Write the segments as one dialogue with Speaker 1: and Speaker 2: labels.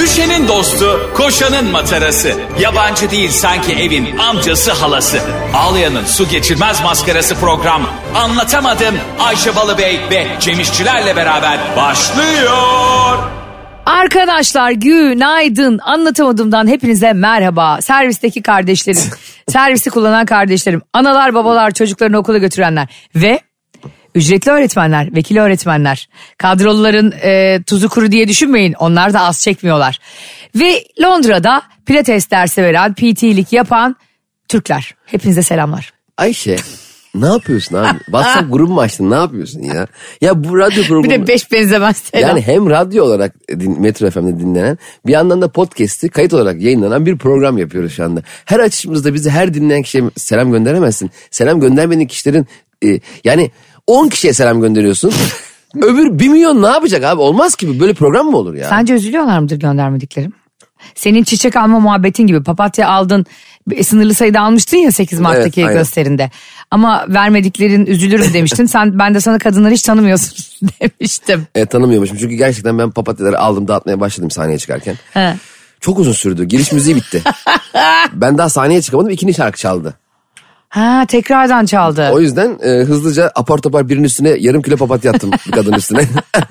Speaker 1: Ayşe'nin dostu, koşanın matarası. Yabancı değil sanki evin amcası halası. Ağlayan'ın su geçirmez maskarası program. Anlatamadım Ayşe Balıbey ve Cemişçilerle beraber başlıyor.
Speaker 2: Arkadaşlar günaydın. Anlatamadığımdan hepinize merhaba. Servisteki kardeşlerim, servisi kullanan kardeşlerim, analar, babalar, çocuklarını okula götürenler ve ücretli öğretmenler, vekil öğretmenler. Kadroluların e, tuzu kuru diye düşünmeyin. Onlar da az çekmiyorlar. Ve Londra'da pilates dersi veren, PT'lik yapan Türkler. Hepinize selamlar.
Speaker 3: Ayşe ne yapıyorsun abi? WhatsApp grubu mu açtın ne yapıyorsun ya? Ya bu radyo
Speaker 2: Bir
Speaker 3: programı...
Speaker 2: de beş benzemez selam.
Speaker 3: yani hem radyo olarak din, Metro FM'de dinlenen bir yandan da podcast'i kayıt olarak yayınlanan bir program yapıyoruz şu anda. Her açışımızda bizi her dinleyen kişiye selam gönderemezsin. Selam göndermediğin kişilerin e, yani 10 kişiye selam gönderiyorsun. Öbür 1 milyon ne yapacak abi? Olmaz ki bu. böyle program mı olur ya?
Speaker 2: Sence üzülüyorlar mıdır göndermediklerim? Senin çiçek alma muhabbetin gibi papatya aldın bir sınırlı sayıda almıştın ya 8 Mart'taki
Speaker 3: Evet, aynen.
Speaker 2: gösterinde. Ama vermediklerin üzülürüm demiştin. Sen ben de sana kadınları hiç tanımıyorsun demiştim.
Speaker 3: E, tanımıyormuşum çünkü gerçekten ben papatyaları aldım dağıtmaya başladım sahneye çıkarken.
Speaker 2: He.
Speaker 3: Çok uzun sürdü. Giriş müziği bitti. ben daha sahneye çıkamadım. ikinci şarkı çaldı.
Speaker 2: Ha tekrardan çaldı.
Speaker 3: O yüzden e, hızlıca apar topar birinin üstüne yarım kilo papatya attım bir kadının üstüne.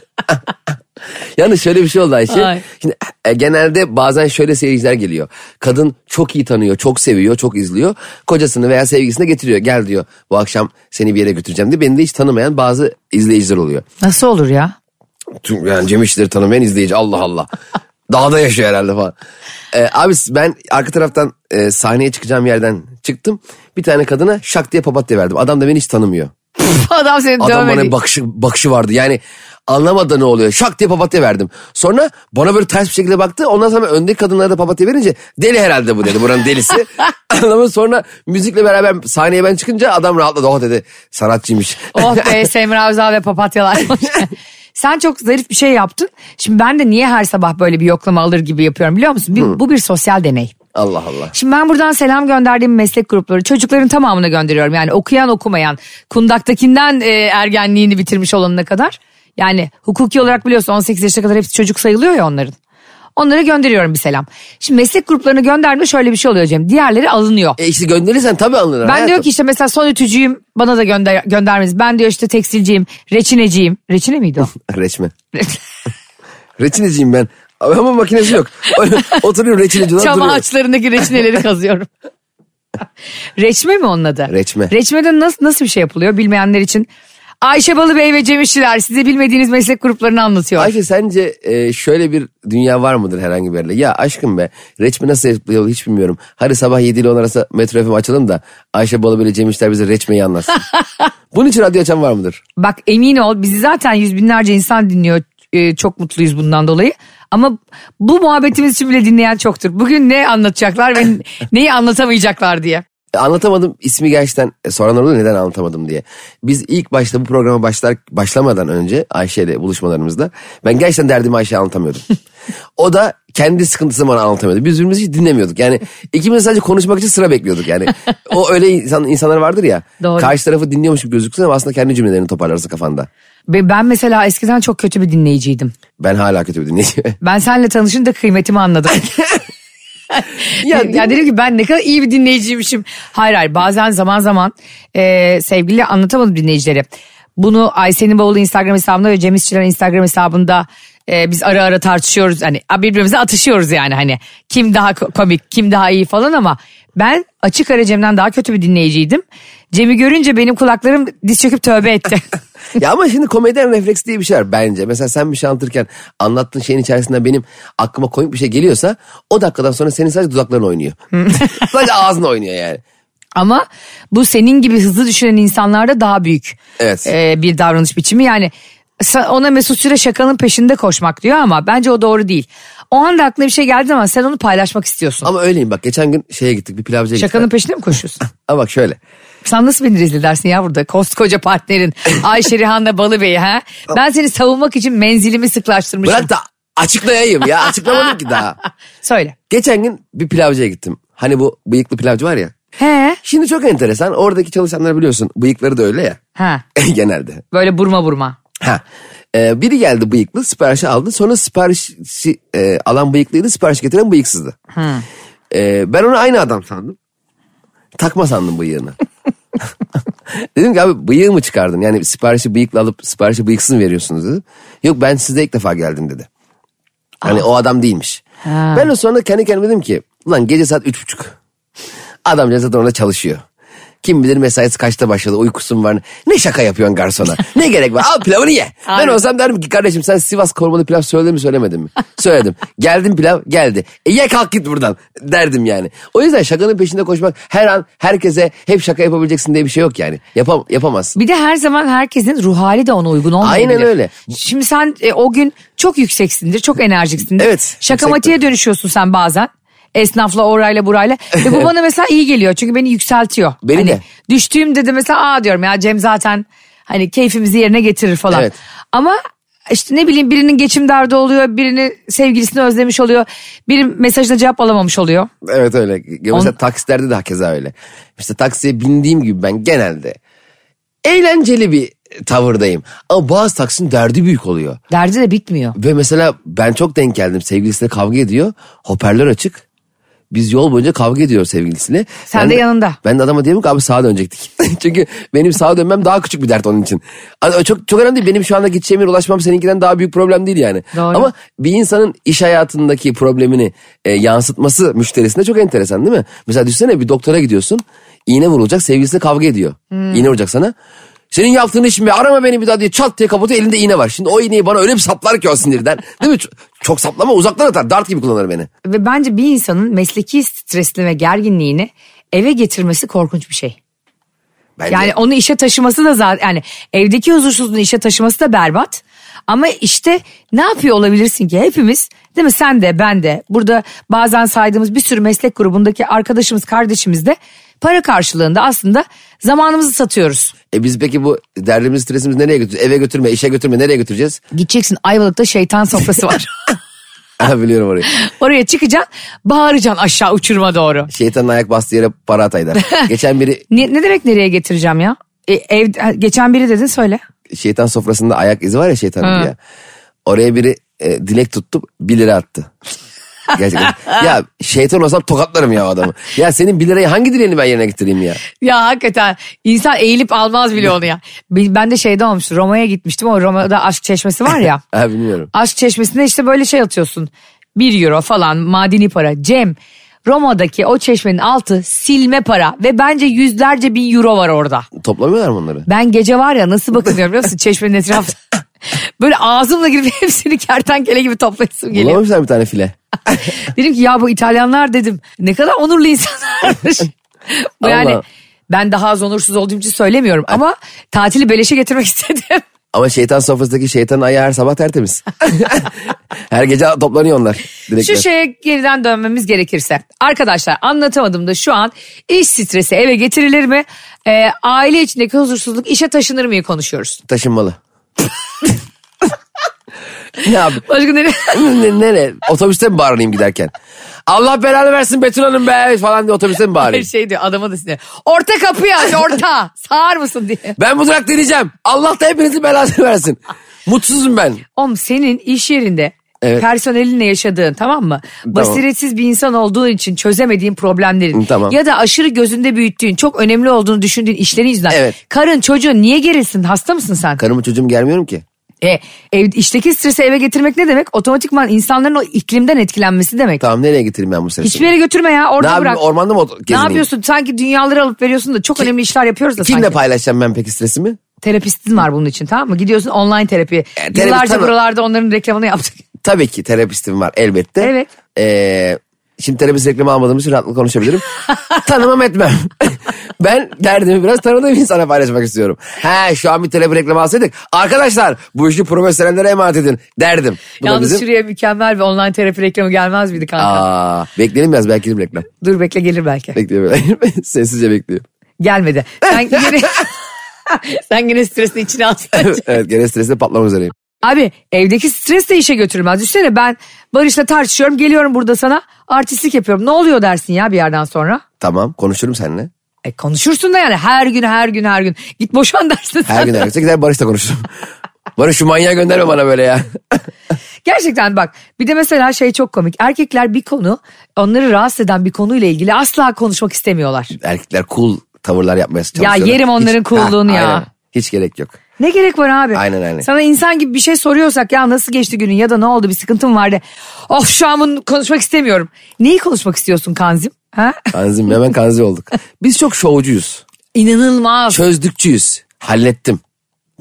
Speaker 3: Yalnız şöyle bir şey oldu Ayşe.
Speaker 2: Ay.
Speaker 3: Şimdi, e, genelde bazen şöyle seyirciler geliyor. Kadın çok iyi tanıyor, çok seviyor, çok izliyor. Kocasını veya sevgilisini getiriyor. Gel diyor bu akşam seni bir yere götüreceğim diye. Beni de hiç tanımayan bazı izleyiciler oluyor.
Speaker 2: Nasıl olur ya?
Speaker 3: Tüm, yani Cem İşçileri tanımayan izleyici Allah Allah. Dağda yaşıyor herhalde falan. Ee, abi ben arka taraftan e, sahneye çıkacağım yerden çıktım. Bir tane kadına şak diye papatya verdim. Adam da beni hiç tanımıyor.
Speaker 2: Adam seni
Speaker 3: Adam
Speaker 2: dövmedi.
Speaker 3: bana bakışı, bakışı vardı. Yani anlamadı ne oluyor. Şak diye papatya verdim. Sonra bana böyle ters bir şekilde baktı. Ondan sonra öndeki kadınlara da papatya verince deli herhalde bu dedi. Buranın delisi. Anlamadı. Sonra müzikle beraber sahneye ben çıkınca adam rahatladı. Oh dedi sanatçıymış.
Speaker 2: Oh be Semra Özel ve papatyalar. Sen çok zarif bir şey yaptın. Şimdi ben de niye her sabah böyle bir yoklama alır gibi yapıyorum biliyor musun? Bir- bu bir sosyal deney.
Speaker 3: Allah Allah.
Speaker 2: Şimdi ben buradan selam gönderdiğim meslek grupları çocukların tamamına gönderiyorum. Yani okuyan okumayan kundaktakinden e, ergenliğini bitirmiş olanına kadar. Yani hukuki olarak biliyorsun 18 yaşına kadar hepsi çocuk sayılıyor ya onların. Onlara gönderiyorum bir selam. Şimdi meslek gruplarını gönderme şöyle bir şey oluyor Cem. Diğerleri alınıyor.
Speaker 3: E işte gönderirsen tabii anlar.
Speaker 2: Ben diyor ki işte mesela son ütücüyüm bana da gönder göndermez. Ben diyor işte tekstilciyim, reçineciyim. Reçine miydi o?
Speaker 3: Reçme. Reçineciyim ben. Abi Ama makinesi yok. Öyle Oturuyorum reçineci olarak
Speaker 2: Çam
Speaker 3: duruyorum.
Speaker 2: ağaçlarındaki reçineleri kazıyorum. Reçme mi onun adı?
Speaker 3: Reçme.
Speaker 2: Reçmede nasıl, nasıl bir şey yapılıyor bilmeyenler için? Ayşe Balıbey ve Cem İşçiler size bilmediğiniz meslek gruplarını anlatıyor.
Speaker 3: Ayşe sence e, şöyle bir dünya var mıdır herhangi bir yerde? Ya aşkım be reçme nasıl yapılıyor hiç bilmiyorum. Hadi sabah 7 ile 10 arası metro FM açalım da Ayşe Balı böyle Cem İşler bize reçmeyi anlatsın. Bunun için radyo açan var mıdır?
Speaker 2: Bak emin ol bizi zaten yüz binlerce insan dinliyor. Ee, çok mutluyuz bundan dolayı. Ama bu muhabbetimiz için bile dinleyen çoktur. Bugün ne anlatacaklar ve neyi anlatamayacaklar diye.
Speaker 3: E, Anlatamadım ismi gerçekten e, soranlar oluyor neden anlatamadım diye. Biz ilk başta bu programa başlar, başlamadan önce Ayşe ile buluşmalarımızda ben gerçekten derdimi Ayşe'ye anlatamıyordum. o da kendi sıkıntısını bana anlatamıyordu. Biz birbirimizi hiç dinlemiyorduk. Yani ikimiz sadece konuşmak için sıra bekliyorduk yani. O öyle insan, insanlar vardır ya.
Speaker 2: Doğru.
Speaker 3: Karşı tarafı dinliyormuş gibi gözüksün ama aslında kendi cümlelerini toparlarsın kafanda.
Speaker 2: Ve Ben mesela eskiden çok kötü bir dinleyiciydim.
Speaker 3: Ben hala kötü bir dinleyiciyim.
Speaker 2: Ben seninle tanışınca kıymetimi anladım. ya, ya dedim ki ben ne kadar iyi bir dinleyiciymişim. Hayır hayır bazen zaman zaman e, sevgili anlatamadım dinleyicilere. Bunu Ayşe'nin bavulu Instagram hesabında ve Cem İşçilerin Instagram hesabında e, biz ara ara tartışıyoruz. Hani birbirimize atışıyoruz yani hani kim daha ko- komik kim daha iyi falan ama ben açık ara Cem'den daha kötü bir dinleyiciydim. Cem'i görünce benim kulaklarım diz çöküp tövbe etti.
Speaker 3: ya ama şimdi komedyen refleksi diye bir şey var bence. Mesela sen bir şey anlatırken anlattığın şeyin içerisinden benim aklıma komik bir şey geliyorsa o dakikadan sonra senin sadece dudakların oynuyor. sadece ağzın oynuyor yani.
Speaker 2: Ama bu senin gibi hızlı düşünen insanlarda daha büyük
Speaker 3: Evet.
Speaker 2: e, bir davranış biçimi. Yani sa- ona Mesut Süre şakanın peşinde koşmak diyor ama bence o doğru değil. O anda aklına bir şey geldiği zaman sen onu paylaşmak istiyorsun.
Speaker 3: Ama öyleyim bak geçen gün şeye gittik bir pilavcıya gittik.
Speaker 2: Şakanın peşinde mi koşuyorsun?
Speaker 3: Ama bak şöyle.
Speaker 2: Sen nasıl beni rezil edersin ya burada koskoca partnerin Ayşe Rihanna Balıbey'i ha? Ben seni savunmak için menzilimi sıklaştırmışım.
Speaker 3: Bırak da açıklayayım ya açıklamadım ki daha.
Speaker 2: Söyle.
Speaker 3: Geçen gün bir pilavcıya gittim. Hani bu bıyıklı pilavcı var ya.
Speaker 2: He?
Speaker 3: Şimdi çok enteresan oradaki çalışanlar biliyorsun bıyıkları da öyle ya
Speaker 2: Ha.
Speaker 3: genelde.
Speaker 2: Böyle burma burma.
Speaker 3: Ha. Ee, biri geldi bıyıklı siparişi aldı. Sonra siparişi e, alan bıyıklıydı sipariş getiren bıyıksızdı. Ee, ben onu aynı adam sandım. Takma sandım bıyığını. Dedim ki abi bıyığı mı çıkardın? Yani siparişi bıyıkla alıp siparişi bıyıksız mı veriyorsunuz dedi. Yok ben size ilk defa geldim dedi. Hani o adam değilmiş. Ben de sonra kendi kendime dedim ki ulan gece saat üç buçuk. Adam zaten orada çalışıyor. Kim bilir mesaisi kaçta başladı uykusun var. Ne şaka yapıyorsun garsona. Ne gerek var al pilavını ye. ben
Speaker 2: Aynen.
Speaker 3: olsam derdim ki kardeşim sen Sivas kormalı pilav söyledin mi söylemedin mi? Söyledim. Geldim pilav geldi. E ye kalk git buradan derdim yani. O yüzden şakanın peşinde koşmak her an herkese hep şaka yapabileceksin diye bir şey yok yani. Yapam yapamazsın.
Speaker 2: Bir de her zaman herkesin ruh hali de ona uygun olmayabilir.
Speaker 3: Aynen öyle.
Speaker 2: Şimdi sen e, o gün çok yükseksindir, çok enerjiksindir.
Speaker 3: Evet,
Speaker 2: Şakamatiğe dönüşüyorsun sen bazen. Esnafla orayla burayla. Ve bu bana mesela iyi geliyor çünkü beni yükseltiyor.
Speaker 3: Beni
Speaker 2: hani
Speaker 3: de.
Speaker 2: Düştüğümde de mesela aa diyorum ya Cem zaten hani keyfimizi yerine getirir falan.
Speaker 3: Evet.
Speaker 2: Ama işte ne bileyim birinin geçim derdi oluyor, birini sevgilisini özlemiş oluyor, biri mesajına cevap alamamış oluyor.
Speaker 3: Evet öyle. Ya Mesela
Speaker 2: On-
Speaker 3: taksilerde de hakeza öyle. İşte taksiye bindiğim gibi ben genelde eğlenceli bir tavırdayım. Ama bazı taksinin derdi büyük oluyor.
Speaker 2: Derdi de bitmiyor.
Speaker 3: Ve mesela ben çok denk geldim. Sevgilisiyle kavga ediyor. Hoparlör açık. Biz yol boyunca kavga ediyor sevgilisine.
Speaker 2: Sen de yanında.
Speaker 3: Ben de adama diyelim ki abi sağa dönecektik. Çünkü benim sağa dönmem daha küçük bir dert onun için. Hani Çok çok önemli değil. Benim şu anda gideceğim yere ulaşmam seninkinden daha büyük problem değil yani.
Speaker 2: Doğru.
Speaker 3: Ama bir insanın iş hayatındaki problemini e, yansıtması müşterisine çok enteresan değil mi? Mesela düşünsene bir doktora gidiyorsun. iğne vurulacak sevgilisiyle kavga ediyor.
Speaker 2: Hmm.
Speaker 3: İğne vuracak sana. Senin yaptığın iş mi? Arama beni bir daha diye çat diye kapatıyor elinde iğne var. Şimdi o iğneyi bana öyle bir saplar ki o sinirden. Değil mi? Çok, çok saplama uzaktan atar. Dart gibi kullanır beni.
Speaker 2: Ve bence bir insanın mesleki stresini ve gerginliğini eve getirmesi korkunç bir şey.
Speaker 3: Bence.
Speaker 2: Yani onu işe taşıması da zaten yani evdeki huzursuzluğunu işe taşıması da berbat. Ama işte ne yapıyor olabilirsin ki hepimiz değil mi sen de ben de burada bazen saydığımız bir sürü meslek grubundaki arkadaşımız kardeşimiz de para karşılığında aslında zamanımızı satıyoruz.
Speaker 3: E biz peki bu derdimiz stresimizi nereye götüreceğiz? Eve götürme, işe götürme nereye götüreceğiz?
Speaker 2: Gideceksin Ayvalık'ta şeytan sofrası var.
Speaker 3: Ha, biliyorum orayı.
Speaker 2: Oraya çıkacaksın bağıracaksın aşağı uçurma doğru.
Speaker 3: Şeytanın ayak bastığı yere para ataylar. Geçen biri
Speaker 2: Ne, ne demek nereye getireceğim ya? E, ev, ha, geçen biri dedin söyle.
Speaker 3: şeytan sofrasında ayak izi var ya şeytanın ya. Oraya biri e, dilek tuttu 1 lira attı. Gerçekten. ya şeytan olsam tokatlarım ya o adamı. Ya senin 1 lirayı hangi dileğini ben yerine getireyim ya?
Speaker 2: Ya hakikaten insan eğilip almaz bile onu ya. Ben ben de şeyde olmuştu Roma'ya gitmiştim o Roma'da aşk çeşmesi var ya.
Speaker 3: Ha bilmiyorum.
Speaker 2: aşk çeşmesine işte böyle şey atıyorsun. Bir euro falan madeni para. Cem Roma'daki o çeşmenin altı silme para ve bence yüzlerce bin euro var orada.
Speaker 3: Toplamıyorlar mı onları?
Speaker 2: Ben gece var ya nasıl bakınıyorum biliyor musun çeşmenin etrafında. Böyle ağzımla girip hepsini kertenkele gibi toplayasım geliyor.
Speaker 3: Bulamamışlar bir tane file.
Speaker 2: Dedim ki ya bu İtalyanlar dedim. Ne kadar onurlu insanlarmış. bu yani
Speaker 3: Allah.
Speaker 2: ben daha az onursuz olduğum için söylemiyorum ama tatili beleşe getirmek istedim.
Speaker 3: Ama şeytan sofrasındaki şeytanın ayağı her sabah tertemiz. her gece toplanıyor onlar. Dilekler.
Speaker 2: Şu şeye geriden dönmemiz gerekirse. Arkadaşlar anlatamadım da şu an iş stresi eve getirilir mi? Ee, aile içindeki huzursuzluk işe taşınır mı konuşuyoruz.
Speaker 3: Taşınmalı. ne yapayım?
Speaker 2: Başka ne?
Speaker 3: Ne- Nere? Otobüste mi bağırayım giderken? Allah belanı versin Betül Hanım be falan diye otobüste mi
Speaker 2: Her
Speaker 3: bağırayım?
Speaker 2: şey diyor adama da sinir. Orta kapıyı aç orta. Sağır mısın diye.
Speaker 3: Ben bu durak deneyeceğim. Allah da hepinizin belasını versin. Mutsuzum ben.
Speaker 2: Oğlum senin iş yerinde
Speaker 3: Evet.
Speaker 2: personelinle yaşadığın tamam mı? Basiretsiz bir insan olduğun için çözemediğin problemlerin
Speaker 3: Hı, tamam.
Speaker 2: ya da aşırı gözünde büyüttüğün çok önemli olduğunu düşündüğün işlerin yüzünden.
Speaker 3: Evet.
Speaker 2: Karın çocuğun niye gerilsin hasta mısın sen?
Speaker 3: Karımı çocuğumu germiyorum ki.
Speaker 2: E, ev, işteki stresi eve getirmek ne demek? Otomatikman insanların o iklimden etkilenmesi demek.
Speaker 3: Tamam nereye getireyim ben bu sesi?
Speaker 2: Hiçbir yere götürme ya
Speaker 3: ne
Speaker 2: orada
Speaker 3: yapayım
Speaker 2: bırak.
Speaker 3: ormanda mı ot-
Speaker 2: ne
Speaker 3: gezineyim?
Speaker 2: yapıyorsun? Sanki dünyaları alıp veriyorsun da çok önemli işler yapıyoruz da
Speaker 3: Kimle
Speaker 2: sanki.
Speaker 3: paylaşacağım ben peki stresimi?
Speaker 2: Terapistin var bunun için tamam mı? Gidiyorsun online terapiye.
Speaker 3: terapi
Speaker 2: Yıllarca
Speaker 3: tabii.
Speaker 2: buralarda onların reklamını yaptık.
Speaker 3: Tabii ki terapistim var elbette.
Speaker 2: Evet.
Speaker 3: Ee, şimdi terapist reklamı almadığım için rahatlıkla konuşabilirim. Tanımam etmem. ben derdimi biraz tanıdığım insana paylaşmak istiyorum. He şu an bir terapi reklamı alsaydık. Arkadaşlar bu işi profesyonellere emanet edin derdim. Bu da
Speaker 2: Yalnız
Speaker 3: bizim.
Speaker 2: şuraya mükemmel bir online terapi reklamı gelmez miydi kanka?
Speaker 3: Aa, bekleyelim biraz belki de reklam.
Speaker 2: Dur bekle gelir belki.
Speaker 3: Bekliyorum. Sessizce bekliyorum.
Speaker 2: Gelmedi. Sen gene, sen gene stresini içine alsın.
Speaker 3: evet gene stresle patlamak üzereyim.
Speaker 2: Abi evdeki stres de işe götürmez. Düşünsene ben Barış'la tartışıyorum geliyorum burada sana artistlik yapıyorum. Ne oluyor dersin ya bir yerden sonra?
Speaker 3: Tamam konuşurum seninle.
Speaker 2: E konuşursun da yani her gün her gün her gün. Git boşan dersin sen.
Speaker 3: Her gün her gün. gider Barış'la konuşurum. Bana şu manyağı gönderme bana böyle ya.
Speaker 2: Gerçekten bak bir de mesela şey çok komik. Erkekler bir konu onları rahatsız eden bir konuyla ilgili asla konuşmak istemiyorlar.
Speaker 3: Erkekler cool tavırlar yapmaya çalışıyorlar.
Speaker 2: yerim onların coolluğunu ya.
Speaker 3: aynen. Hiç gerek yok.
Speaker 2: Ne gerek var abi?
Speaker 3: Aynen, aynen.
Speaker 2: Sana insan gibi bir şey soruyorsak ya nasıl geçti günün ya da ne oldu bir sıkıntın var de. Of şu an bunu konuşmak istemiyorum. Neyi konuşmak istiyorsun Kanzim? Ha?
Speaker 3: Kanzim hemen kanzi olduk. Biz çok şovcuyuz.
Speaker 2: İnanılmaz.
Speaker 3: Çözdükçüyüz. Hallettim.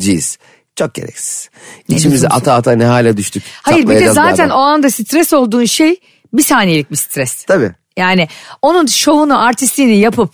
Speaker 3: Ciz. Çok gereksiz. İçimize ata ata ne hale düştük.
Speaker 2: Hayır bir de
Speaker 3: Çatlayacağız
Speaker 2: zaten
Speaker 3: birazdan.
Speaker 2: o anda stres olduğun şey bir saniyelik bir stres.
Speaker 3: Tabii.
Speaker 2: Yani onun şovunu artistliğini yapıp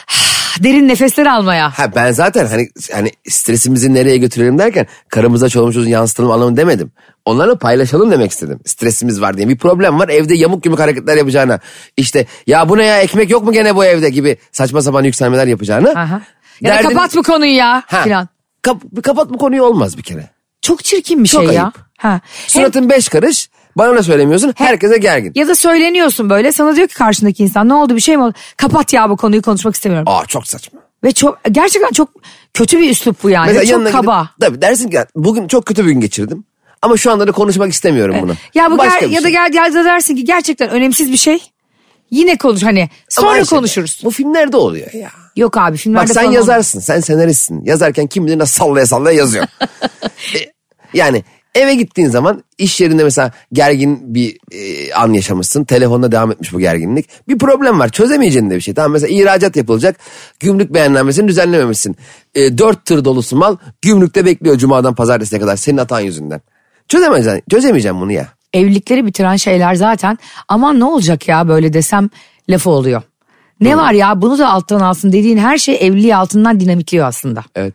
Speaker 2: derin nefesler almaya.
Speaker 3: Ha ben zaten hani hani stresimizi nereye götürelim derken karımıza çoluğumuza yansıtalım anlamı demedim. Onlarla paylaşalım demek istedim. Stresimiz var diye bir problem var evde yamuk yumuk hareketler yapacağına işte ya bu ne ya ekmek yok mu gene bu evde gibi saçma sapan yükselmeler yapacağına.
Speaker 2: Aha. Ya da
Speaker 3: Derdini-
Speaker 2: kapat bu konuyu ya
Speaker 3: Ha.
Speaker 2: filan.
Speaker 3: Kap- kapat bu konuyu olmaz bir kere.
Speaker 2: Çok çirkin bir
Speaker 3: Çok
Speaker 2: şey ya.
Speaker 3: ayıp.
Speaker 2: Ha. Hem-
Speaker 3: Suratın beş karış bana da söylemiyorsun herkese gergin.
Speaker 2: ya da söyleniyorsun böyle sana diyor ki karşındaki insan ne oldu bir şey mi oldu? Kapat ya bu konuyu konuşmak istemiyorum.
Speaker 3: Aa çok saçma.
Speaker 2: Ve çok gerçekten çok kötü bir üslup bu yani. çok
Speaker 3: yanına
Speaker 2: kaba.
Speaker 3: Gidip, tabii dersin ki bugün çok kötü bir gün geçirdim. Ama şu anda da konuşmak istemiyorum bunu.
Speaker 2: E, Ya bu
Speaker 3: Başka
Speaker 2: ger-
Speaker 3: bir
Speaker 2: ya da
Speaker 3: şey.
Speaker 2: gel ya da dersin ki gerçekten önemsiz bir şey. Yine konuş hani
Speaker 3: Ama
Speaker 2: sonra
Speaker 3: Ayşe,
Speaker 2: konuşuruz.
Speaker 3: Bu filmlerde oluyor ya.
Speaker 2: Yok abi filmlerde
Speaker 3: Bak sen
Speaker 2: falan olmaz.
Speaker 3: yazarsın. Sen senaristsin. Yazarken kim bilir nasıl sallaya sallaya yazıyor. E, yani eve gittiğin zaman iş yerinde mesela gergin bir e, an yaşamışsın. Telefonda devam etmiş bu gerginlik. Bir problem var. Çözemeyeceğin de bir şey. Tamam mesela ihracat yapılacak. Gümrük beğenlenmesini düzenlememişsin. E, dört tır dolusu mal gümrükte bekliyor cumadan pazartesine kadar senin hatan yüzünden. Çözemeyeceksin, çözemeyeceğim bunu ya.
Speaker 2: evlilikleri bitiren şeyler zaten aman ne olacak ya böyle desem lafı oluyor. Ne var ya bunu da alttan alsın dediğin her şey evliliği altından dinamikliyor aslında.
Speaker 3: Evet.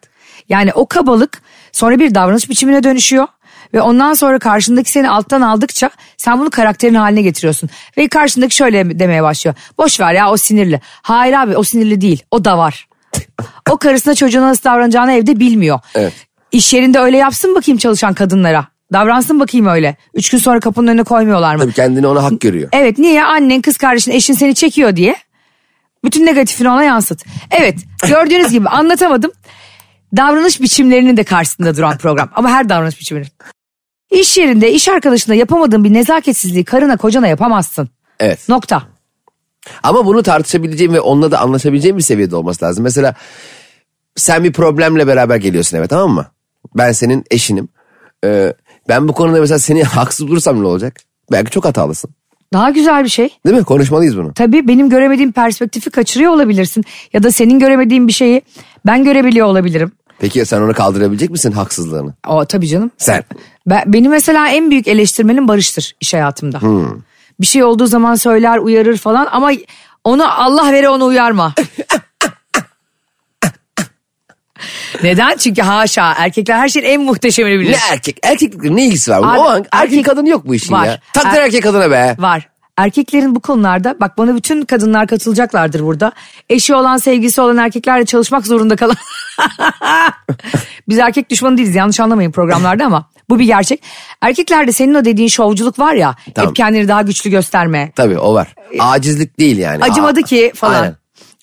Speaker 2: Yani o kabalık sonra bir davranış biçimine dönüşüyor. Ve ondan sonra karşındaki seni alttan aldıkça sen bunu karakterin haline getiriyorsun. Ve karşındaki şöyle demeye başlıyor. Boş ver ya o sinirli. Hayır abi o sinirli değil o da var. o karısına çocuğuna nasıl davranacağını evde bilmiyor.
Speaker 3: Evet.
Speaker 2: İş yerinde öyle yapsın bakayım çalışan kadınlara. Davransın bakayım öyle. Üç gün sonra kapının önüne koymuyorlar mı?
Speaker 3: Tabii kendini ona hak görüyor.
Speaker 2: Evet niye ya annen kız kardeşin eşin seni çekiyor diye. Bütün negatifini ona yansıt. Evet gördüğünüz gibi anlatamadım. Davranış biçimlerinin de karşısında duran program. Ama her davranış biçiminin. İş yerinde iş arkadaşına yapamadığın bir nezaketsizliği karına kocana yapamazsın.
Speaker 3: Evet.
Speaker 2: Nokta.
Speaker 3: Ama bunu tartışabileceğim ve onunla da anlaşabileceğim bir seviyede olması lazım. Mesela sen bir problemle beraber geliyorsun eve tamam mı? Ben senin eşinim. Ee, ben bu konuda mesela seni haksız bulursam ne olacak? Belki çok hatalısın.
Speaker 2: Daha güzel bir şey.
Speaker 3: Değil mi? Konuşmalıyız bunu.
Speaker 2: Tabii benim göremediğim perspektifi kaçırıyor olabilirsin. Ya da senin göremediğin bir şeyi ben görebiliyor olabilirim.
Speaker 3: Peki ya sen onu kaldırabilecek misin haksızlığını?
Speaker 2: O tabii canım.
Speaker 3: Sen.
Speaker 2: Ben, beni mesela en büyük eleştirmenim Barış'tır iş hayatımda. Bir şey olduğu zaman söyler, uyarır falan ama onu Allah vere onu uyarma. Neden? Çünkü haşa erkekler her şeyin en muhteşemini
Speaker 3: Ne
Speaker 2: bilir.
Speaker 3: erkek? Erkeklikle ne ilgisi var? bunun?
Speaker 2: Abi,
Speaker 3: o an erkek,
Speaker 2: erkek-
Speaker 3: kadın yok bu işin
Speaker 2: Var.
Speaker 3: ya. Takdir
Speaker 2: Er-
Speaker 3: erkek kadına be.
Speaker 2: Var. Erkeklerin bu konularda bak bana bütün kadınlar katılacaklardır burada. Eşi olan sevgisi olan erkeklerle çalışmak zorunda kalan. Biz erkek düşmanı değiliz yanlış anlamayın programlarda ama bu bir gerçek. Erkeklerde senin o dediğin şovculuk var ya
Speaker 3: Tamam.
Speaker 2: hep kendini daha güçlü gösterme.
Speaker 3: Tabii o var. Acizlik değil yani.
Speaker 2: Acımadı
Speaker 3: Aa,
Speaker 2: ki falan.
Speaker 3: Aynen.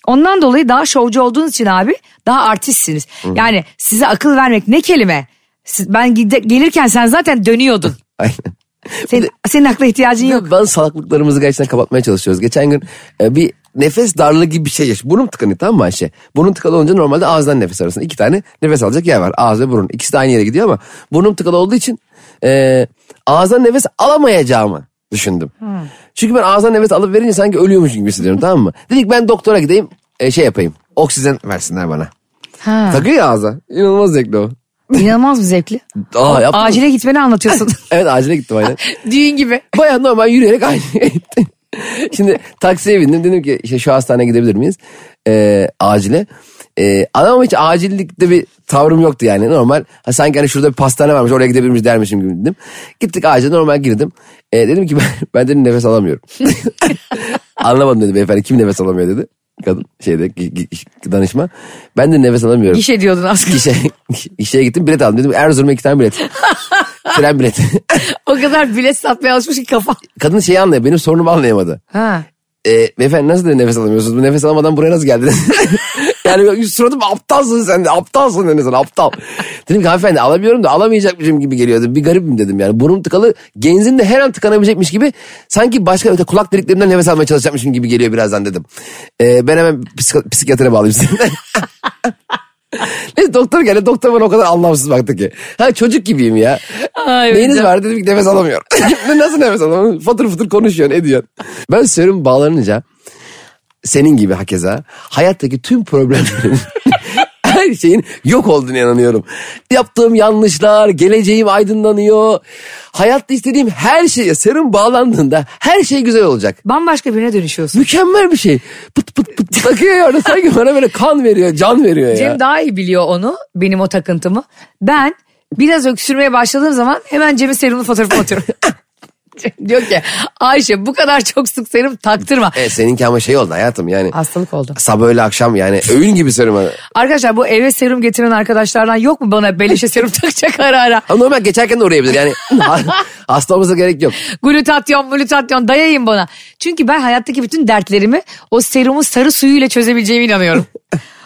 Speaker 2: Ondan dolayı daha şovcu olduğunuz için abi daha artistsiniz. Yani size akıl vermek ne kelime. Siz- ben gide- gelirken sen zaten dönüyordun.
Speaker 3: Aynen.
Speaker 2: Senin, senin akla ihtiyacın yok.
Speaker 3: Bazı salaklıklarımızı gerçekten kapatmaya çalışıyoruz. Geçen gün e, bir nefes darlığı gibi bir şey yaş. Burnum tıkanıyor tamam mı Ayşe? Burnum tıkalı olunca normalde ağızdan nefes arasında iki tane nefes alacak yer var. Ağız ve burun. İkisi de aynı yere gidiyor ama burnum tıkalı olduğu için e, ağızdan nefes alamayacağımı düşündüm. Çünkü ben ağızdan nefes alıp verince sanki ölüyormuş gibi hissediyorum tamam mı? Dedik ben doktora gideyim e, şey yapayım. Oksijen versinler bana.
Speaker 2: Ha.
Speaker 3: Takıyor ya ağza. İnanılmaz zevkli o.
Speaker 2: İnanılmaz mı zevkli?
Speaker 3: Aa, yaptın mı?
Speaker 2: Acile gitmeni anlatıyorsun.
Speaker 3: Evet acile gittim aynen.
Speaker 2: Düğün gibi.
Speaker 3: Bayağı normal yürüyerek aynı yere gittim. Şimdi taksiye bindim dedim ki işte şu hastaneye gidebilir miyiz? Ee, acile. Ee, ama hiç acillikte bir tavrım yoktu yani normal. Ha, sanki hani şurada bir pastane varmış oraya gidebilir miyiz dermişim gibi dedim. Gittik acile normal girdim. Ee, dedim ki ben, ben dedim nefes alamıyorum. Anlamadım dedi beyefendi kim nefes alamıyor dedi. Kadın şeyde gi- gi- danışma. Ben de nefes alamıyorum
Speaker 2: Giş ediyordun aslında.
Speaker 3: işe, işe gittim bilet aldım dedim Erzurum'a iki tane bilet. Tren bileti.
Speaker 2: O kadar bilet satmaya alışmış ki kafam.
Speaker 3: Kadın şeyi anlıyor benim sorunumu anlayamadı.
Speaker 2: Ha.
Speaker 3: E, beyefendi nasıl dedi nefes alamıyorsunuz? Bu nefes alamadan buraya nasıl geldiniz? Yani suratım aptalsın sen de aptalsın dedi sana aptal. Dedim ki hanımefendi alamıyorum da alamayacakmışım gibi geliyordu. Bir garibim dedim yani. Burnum tıkalı genzim de her an tıkanabilecekmiş gibi sanki başka öte kulak deliklerimden nefes almaya çalışacakmışım gibi geliyor birazdan dedim. Ee, ben hemen psik- psikiyatra bağlayayım sizi. Neyse doktor geldi doktor bana o kadar anlamsız baktı ki. Ha çocuk gibiyim ya.
Speaker 2: Ay,
Speaker 3: Neyiniz
Speaker 2: hocam.
Speaker 3: var dedim ki nefes alamıyorum. Nasıl nefes alamıyorum? Fatır fıtır konuşuyorsun ediyorsun. Ben serum bağlanınca senin gibi hakeza hayattaki tüm problemlerin her şeyin yok olduğunu inanıyorum. Yaptığım yanlışlar, geleceğim aydınlanıyor. Hayatta istediğim her şeye serum bağlandığında her şey güzel olacak.
Speaker 2: Bambaşka birine dönüşüyorsun.
Speaker 3: Mükemmel bir şey. Pıt pıt pıt pıt akıyor ya orada sanki bana böyle kan veriyor, can veriyor ya.
Speaker 2: Cem daha iyi biliyor onu benim o takıntımı. Ben biraz öksürmeye başladığım zaman hemen Cem'in serumlu fotoğrafı atıyorum. Cem diyor ki Ayşe bu kadar çok sık serum taktırma.
Speaker 3: E, seninki ama şey oldu hayatım yani.
Speaker 2: Hastalık oldu.
Speaker 3: Sabah öyle akşam yani öğün gibi serum. hani.
Speaker 2: Arkadaşlar bu eve serum getiren arkadaşlardan yok mu bana beleşe serum takacak ara ara?
Speaker 3: Ama normal geçerken de uğrayabilir yani. Hasta olmasına gerek yok.
Speaker 2: Glutatyon glutatyon dayayın bana. Çünkü ben hayattaki bütün dertlerimi o serumun sarı suyuyla çözebileceğime inanıyorum.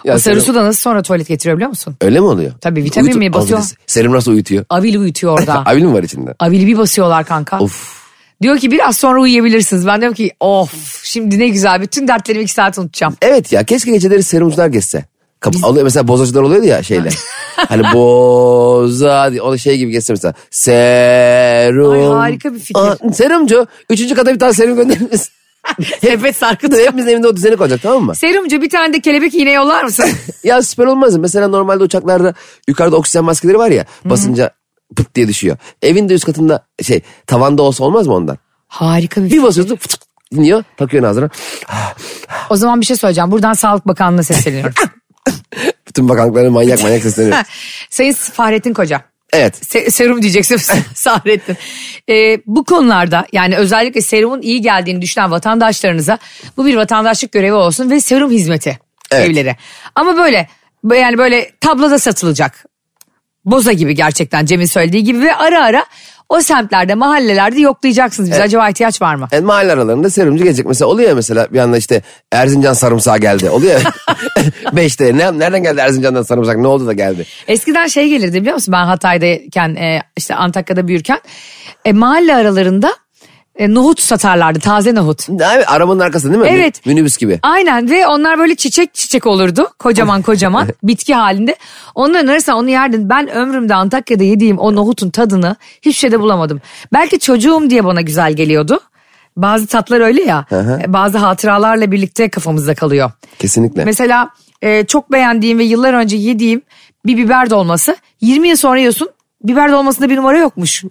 Speaker 3: Ya
Speaker 2: o sarı
Speaker 3: serum-
Speaker 2: su da nasıl sonra tuvalet getiriyor biliyor musun?
Speaker 3: Öyle mi oluyor?
Speaker 2: Tabii, vitamin mi basıyor?
Speaker 3: Affedersin, Serum nasıl uyutuyor?
Speaker 2: Avil uyutuyor orada.
Speaker 3: Avil mi var içinde?
Speaker 2: Avili bir basıyorlar kanka.
Speaker 3: Of.
Speaker 2: Diyor ki biraz sonra uyuyabilirsiniz. Ben diyorum ki of şimdi ne güzel bütün dertlerimi iki saat unutacağım.
Speaker 3: Evet ya keşke geceleri serumcular geçse. Kapı alıyor mesela bozacılar oluyordu ya şeyle. hani boza diye o da şey gibi geçse mesela. Serum.
Speaker 2: Ay, harika bir fikir.
Speaker 3: Aa, serumcu. Üçüncü kata bir tane serum göndeririz.
Speaker 2: Sepet sarkıtı.
Speaker 3: Hepimizin evinde o düzeni koyacak tamam mı?
Speaker 2: Serumcu bir tane de kelebek iğne yollar mısın?
Speaker 3: Ya süper olmaz mı? Mesela normalde uçaklarda yukarıda oksijen maskeleri var ya basınca pıt diye düşüyor. Evin de üst katında şey tavanda olsa olmaz mı ondan?
Speaker 2: Harika bir fikir.
Speaker 3: Bir basıyorsun fıt, iniyor takıyorsun ağzına.
Speaker 2: O zaman bir şey söyleyeceğim. Buradan Sağlık Bakanlığı'na sesleniyorum.
Speaker 3: Bütün bakanlıklara manyak manyak sesleniyor.
Speaker 2: Sayın Fahrettin Koca.
Speaker 3: evet.
Speaker 2: Se- serum diyeceksin Sahrettin. Ee, bu konularda yani özellikle serumun iyi geldiğini düşünen vatandaşlarınıza bu bir vatandaşlık görevi olsun ve serum hizmeti
Speaker 3: Evet.
Speaker 2: evlere. Ama böyle bö- yani böyle tabloda satılacak. Boza gibi gerçekten Cem'in söylediği gibi ve ara ara o semtlerde mahallelerde yoklayacaksınız bize acaba ihtiyaç var mı?
Speaker 3: Yani E, mahalle aralarında serumcu gelecek. Mesela oluyor ya mesela bir anda işte Erzincan sarımsağı geldi. Oluyor ya. Beşte. Ne, nereden geldi Erzincan'dan sarımsak? Ne oldu da geldi?
Speaker 2: Eskiden şey gelirdi biliyor musun ben Hatay'dayken e, işte Antakya'da büyürken e, mahalle aralarında e, nohut satarlardı taze nohut.
Speaker 3: Abi, arabanın arkasında değil mi?
Speaker 2: Evet.
Speaker 3: Minibüs gibi.
Speaker 2: Aynen ve onlar böyle çiçek çiçek olurdu. Kocaman kocaman bitki halinde. Onların arasında onu yerdim. Ben ömrümde Antakya'da yediğim o nohutun tadını hiçbir şeyde bulamadım. Belki çocuğum diye bana güzel geliyordu. Bazı tatlar öyle ya. e, Bazı hatıralarla birlikte kafamızda kalıyor.
Speaker 3: Kesinlikle.
Speaker 2: Mesela e, çok beğendiğim ve yıllar önce yediğim bir biber dolması 20 yıl sonra yiyorsun biber dolmasında bir numara yokmuş.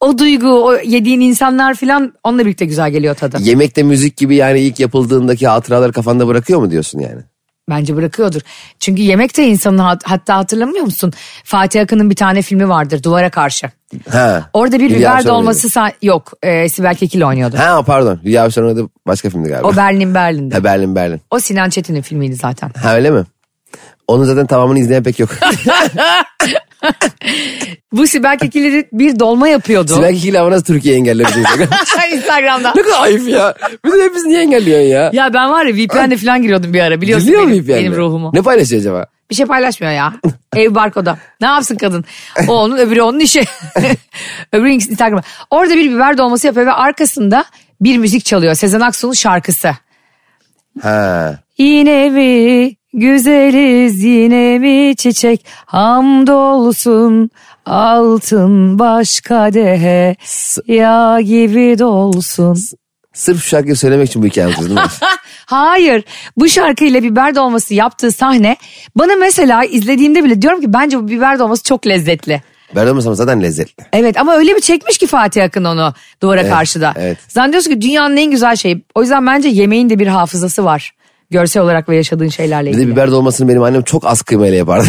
Speaker 2: o duygu, o yediğin insanlar falan onunla birlikte güzel geliyor tadı.
Speaker 3: Yemekte müzik gibi yani ilk yapıldığındaki hatıraları kafanda bırakıyor mu diyorsun yani?
Speaker 2: Bence bırakıyordur. Çünkü yemek de insanın hat- hatta hatırlamıyor musun? Fatih Akın'ın bir tane filmi vardır Duvara Karşı.
Speaker 3: Ha.
Speaker 2: Orada bir
Speaker 3: Hülya
Speaker 2: biber
Speaker 3: Avşar
Speaker 2: dolması sa- yok. E, Sibel Kekil oynuyordu.
Speaker 3: oynadı. Ha pardon. Hülya Avşar'ın oynadığı başka filmdi galiba.
Speaker 2: O Berlin Berlin'de.
Speaker 3: Ha, Berlin Berlin.
Speaker 2: O Sinan Çetin'in filmiydi zaten.
Speaker 3: Ha öyle mi? Onun zaten tamamını izleyen pek yok.
Speaker 2: Bu Sibel Kekil'i de bir dolma yapıyordu.
Speaker 3: Sinan Kikil ama nasıl Türkiye engelledi?
Speaker 2: Instagram'da.
Speaker 3: ne kadar ayıp ya. Bizi hepimiz niye engelliyorsun ya?
Speaker 2: Ya ben var ya VPN'de falan giriyordum bir ara biliyorsun
Speaker 3: Dinliyor mu
Speaker 2: benim,
Speaker 3: ip yani?
Speaker 2: benim ruhumu.
Speaker 3: Ne paylaşıyor acaba?
Speaker 2: Bir şey paylaşmıyor ya. Ev barkoda. Ne yapsın kadın? O onun öbürü onun işi. öbürü Instagram'a. Orada bir biber dolması yapıyor ve arkasında bir müzik çalıyor. Sezen Aksu'nun şarkısı.
Speaker 3: Ha.
Speaker 2: Yine mi güzeliz yine mi çiçek hamdolsun altın baş kadehe yağ gibi dolsun. Ah,
Speaker 3: Sırf şu şarkıyı söylemek için bu hikaye anlatıyorsun değil mi?
Speaker 2: Hayır. Bu şarkıyla biber dolması yaptığı sahne bana mesela izlediğimde bile diyorum ki bence bu biber dolması çok lezzetli.
Speaker 3: Ben olmasam zaten lezzetli.
Speaker 2: Evet ama öyle bir çekmiş ki Fatih Akın onu duvara karşıda.
Speaker 3: evet.
Speaker 2: Zannediyorsun ki dünyanın en güzel şeyi. O yüzden bence yemeğin de bir hafızası var. Görsel olarak ve yaşadığın şeylerle
Speaker 3: Bir de
Speaker 2: ilgili.
Speaker 3: biber dolmasını benim annem çok az kıymayla yapardı.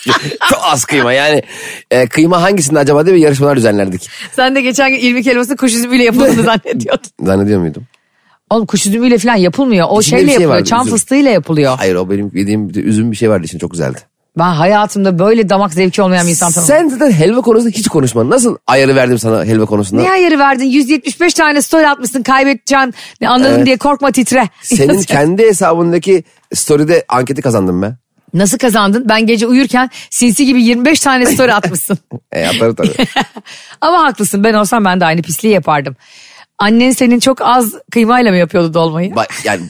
Speaker 3: çok az kıyma yani. e, kıyma hangisinde acaba diye bir yarışmalar düzenlerdik.
Speaker 2: Sen de geçen gün irmik helvası kuş üzümüyle yapıldığını zannediyordun.
Speaker 3: Zannediyor muydum?
Speaker 2: Oğlum kuş üzümüyle falan yapılmıyor. O
Speaker 3: İçinde
Speaker 2: şeyle
Speaker 3: bir şey
Speaker 2: yapılıyor.
Speaker 3: vardı,
Speaker 2: çam
Speaker 3: üzüm.
Speaker 2: fıstığıyla yapılıyor.
Speaker 3: Hayır o benim yediğim bir de üzüm bir şey vardı için çok güzeldi.
Speaker 2: Ben hayatımda böyle damak zevki olmayan bir insan tanımadım.
Speaker 3: Sen zaten helva konusunda hiç konuşman. Nasıl ayarı verdim sana helva konusunda?
Speaker 2: Ne ayarı verdin? 175 tane story atmışsın kaybedeceksin. Ne anladın diye korkma titre.
Speaker 3: Senin kendi hesabındaki story'de anketi kazandım ben.
Speaker 2: Nasıl kazandın? Ben gece uyurken sinsi gibi 25 tane story atmışsın.
Speaker 3: E atarım tabii.
Speaker 2: Ama haklısın ben olsam ben de aynı pisliği yapardım. Annen senin çok az kıymayla mı yapıyordu dolmayı?
Speaker 3: Ba- yani